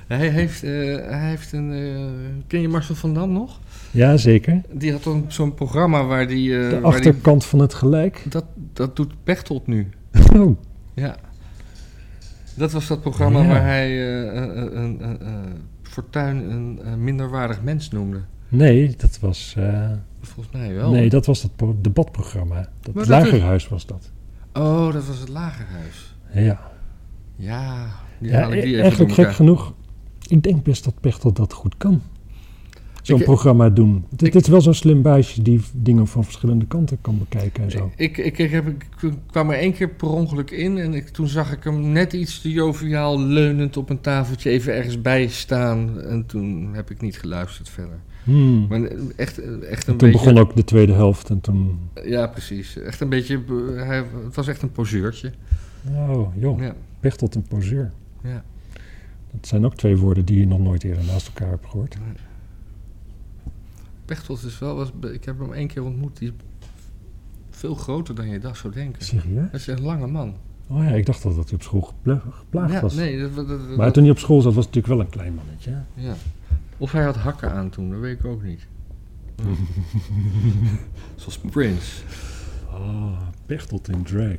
Hij heeft, eh, hij heeft een... eh, ken je Marcel van Dam nog? Ja, zeker. Die had dan zo'n programma waar die... eh, De waar die- achterkant van het gelijk. dat, dat doet Pechtold nu. Oh, Ja. Dat was dat programma Ja. waar hij eh, eh, eh, een eh, eh, Fortuyn een eh, minderwaardig mens noemde. nee, dat was... eh, Volgens mij wel. nee, dat was dat pro- debatprogramma. Dat dat lagerhuis was dat. Oh, dat was het Lagerhuis. Ja, Ja, die ja haal ik die e- even eigenlijk door gek elkaar. genoeg. Ik denk best dat Pechtel dat goed kan. Zo'n Ik- programma doen. Dit, ik- dit is wel zo'n slim baasje die v- dingen van verschillende kanten kan bekijken en zo. Ik, ik, ik, heb, ik kwam er één keer per ongeluk in en ik, toen zag ik hem net iets te joviaal leunend op een tafeltje even ergens bij staan. En toen heb ik niet geluisterd verder. Hmm. Maar eh, echt, echt een En beetje... toen begon ook de tweede helft en toen... Ja, precies. Echt een beetje... eh, Hij, het was echt een poseurtje. Oh, joh. Ja, Pechtold en poseur. ja. Dat zijn ook twee woorden die je nog nooit eerder naast elkaar hebt gehoord. Pechtold is wel... Was, ik heb hem één keer ontmoet. Die is veel groter dan je dat zou denken. Serieus? Dat is een lange man. Oh ja, ik dacht dat dat hij op school gepla- geplaagd ja, was. nee. Dat, dat- dat- Maar toen hij op school zat, was het natuurlijk wel een klein mannetje. hè? ja. Of hij had hakken aan toen, dat weet ik ook *laughs* niet. Zoals Prince. Oh, Pechtold in drag.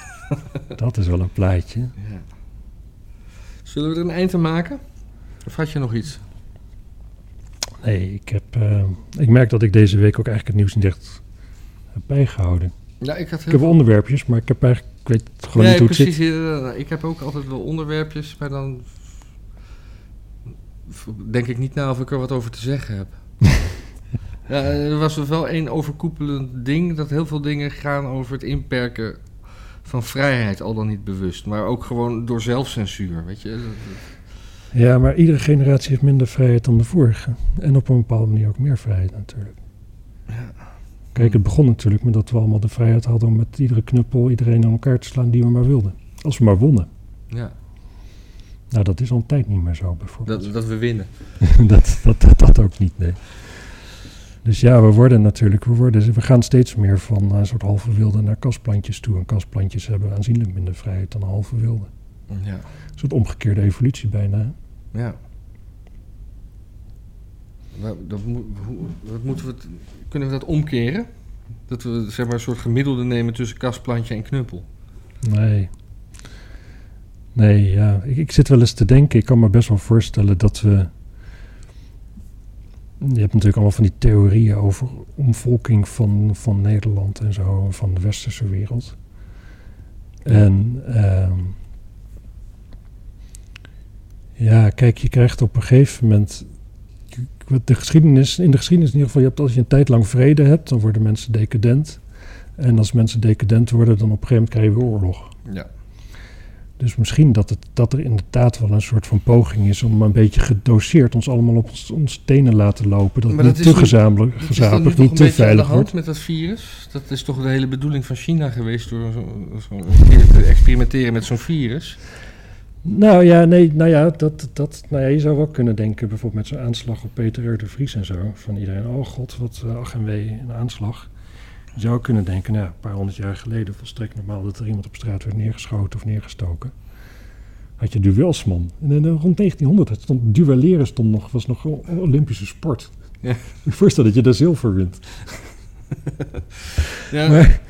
*laughs* dat is wel een plaatje. Ja. Zullen we er een eind aan maken? Of had je nog iets? Nee, ik, heb, eh, ik merk dat ik deze week ook eigenlijk het nieuws niet echt heb bijgehouden. Ja, ik had Ik heb veel- wel onderwerpjes, maar ik, heb eigenlijk, ik weet gewoon nee, niet hoe het precies. zit. eh, ik heb ook altijd wel onderwerpjes, maar dan v- denk ik niet na of ik er wat over te *laughs* zeggen heb. ja, er was wel één overkoepelend ding, dat heel veel dingen gaan over het inperken van vrijheid, al dan niet bewust. Maar ook gewoon door zelfcensuur, weet je. Dat- dat- Ja, maar iedere generatie heeft minder vrijheid dan de vorige. En op een bepaalde manier ook meer vrijheid natuurlijk. Ja. Kijk, het begon natuurlijk met dat we allemaal de vrijheid hadden om met iedere knuppel iedereen aan elkaar te slaan die we maar wilden. Als we maar wonnen. Ja, Nou, dat is al een tijd niet meer zo bijvoorbeeld. dat, dat we winnen. *laughs* dat, dat, dat, dat ook niet, nee. Dus ja, we worden natuurlijk, we, worden, we gaan steeds meer van eh, een soort halve wilde naar kastplantjes toe. En kastplantjes hebben aanzienlijk minder vrijheid dan halve wilde. Ja, Een soort omgekeerde evolutie bijna. hè? ja. Maar dat moet- hoe- wat moeten we het- kunnen we dat omkeren? Dat we zeg maar, een soort gemiddelde nemen tussen kastplantje en knuppel. Nee. Nee, ja. Ik, ik zit wel eens te denken, ik kan me best wel voorstellen dat we... Je hebt natuurlijk allemaal van die theorieën over omvolking van, van Nederland en zo, van de westerse wereld. En ehm, ja, kijk, je krijgt op een gegeven moment. wat De geschiedenis, in de geschiedenis in ieder geval, je hebt, als je een tijd lang vrede hebt, dan worden mensen decadent. En als mensen decadent worden, dan op een gegeven moment krijg je weer oorlog. Ja. Dus misschien dat, het, dat er inderdaad wel een soort van poging is om een beetje gedoseerd ons allemaal op ons, ons tenen laten lopen. Dat Maar het dat niet is te nu- gezamenlijk, Dat is dan nu gezapig, nog een niet te beetje aan de veilig wordt. hand met dat virus. Dat is toch de hele bedoeling van China geweest door zo- zo'n keer te experimenteren met zo'n virus. Nou ja, nee, nou ja, dat, dat, nou ja, je zou wel kunnen denken, bijvoorbeeld met zo'n aanslag op Peter R. de Vries en zo. Van iedereen, oh god, wat eh, ach en wee, een aanslag. Je zou ook kunnen denken, nou, een paar honderd jaar geleden, volstrekt normaal dat er iemand op straat werd neergeschoten of neergestoken. Had je duels, man. En, eh, rond 1900 het stond, duelleren stond nog, was nog o- Olympische sport. Ja. Ik voorstel dat je daar zilver wint. Ja, Maar-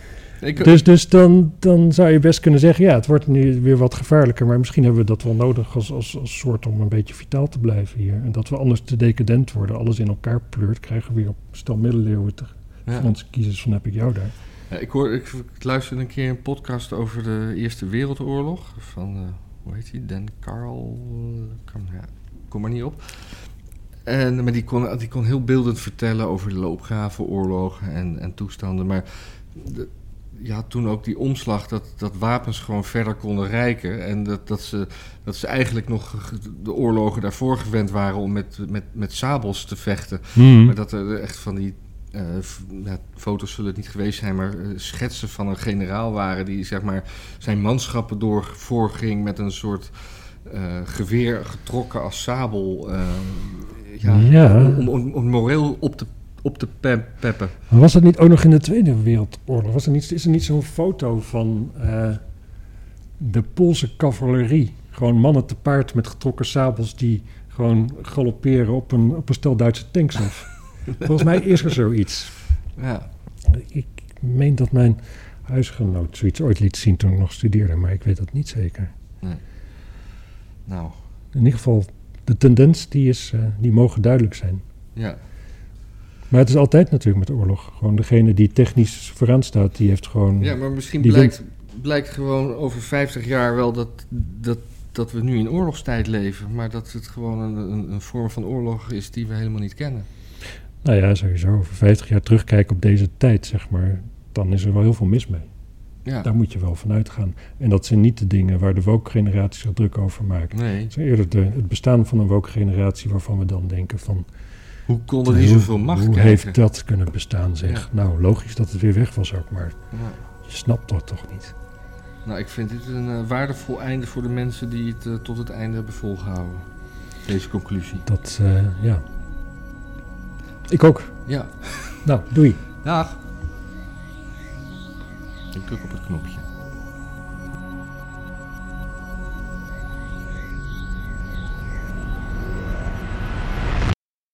ik, Dus, dus dan, dan zou je best kunnen zeggen, ja, het wordt nu weer wat gevaarlijker, maar misschien hebben we dat wel nodig als, als, als soort om een beetje vitaal te blijven hier. En dat we anders te decadent worden, alles in elkaar pleurt, krijgen we weer op stel middeleeuwen te, ja. van onze kiezers van heb ik jou daar. Ja, ik, hoor, ik, ik luisterde een keer een podcast over de Eerste Wereldoorlog. Van, eh, hoe heet die? Dan Carl. Kom, ja, kom maar niet op. En, maar die kon, die kon heel beeldend vertellen over de loopgravenoorlog en, en toestanden. Maar de- je had toen ook die omslag dat, dat wapens gewoon verder konden reiken. En dat, dat, ze, dat ze eigenlijk nog de oorlogen daarvoor gewend waren om met, met, met sabels te vechten. Hmm. Maar dat er echt van die eh, f- ja, foto's zullen het niet geweest zijn, maar eh, schetsen van een generaal waren die zeg maar zijn manschappen door voorging met een soort eh, geweer getrokken als sabel. eh, ja, Ja. Om, om, om moreel op te, op te pe- peppen. Maar was dat niet ook nog in de Tweede Wereldoorlog? Was er niet, is er niet zo'n foto van eh, de Poolse cavalerie? Gewoon mannen te paard met getrokken sabels die gewoon galopperen op een, op een stel Duitse tanks af. Volgens mij is er zoiets. Ja. Ik meen dat mijn huisgenoot zoiets ooit liet zien toen ik nog studeerde, maar ik weet dat niet zeker. Nou, In ieder geval, de tendens die, is, eh, die mogen duidelijk zijn. ja. Maar het is altijd natuurlijk met oorlog. Gewoon degene die technisch vooraan staat, die heeft gewoon... ja maar misschien Die blijkt, blijkt gewoon over 50 jaar wel dat, dat, dat we nu in oorlogstijd leven, maar dat het gewoon een, een, een vorm van oorlog is die we helemaal niet kennen. Nou ja, sowieso. Over 50 jaar terugkijken op deze tijd, zeg maar. Dan is er wel heel veel mis mee. Ja, Daar moet je wel van uitgaan. En dat zijn niet de dingen waar de woke-generatie zich druk over maakt. nee. Het is eerder de, het bestaan van een woke-generatie waarvan we dan denken van... Hoe konden die hoe- zoveel macht Hoe krijgen? heeft dat kunnen bestaan, zeg. Nou, logisch dat het weer weg was ook, maar Ja. je snapt dat toch niet. Nou, ik vind dit een eh, waardevol einde voor de mensen die het eh, tot het einde hebben volgehouden. Deze conclusie. Dat, eh, ja. Ik ook. Ja. Nou, doei. Dag. Ik druk op het knopje.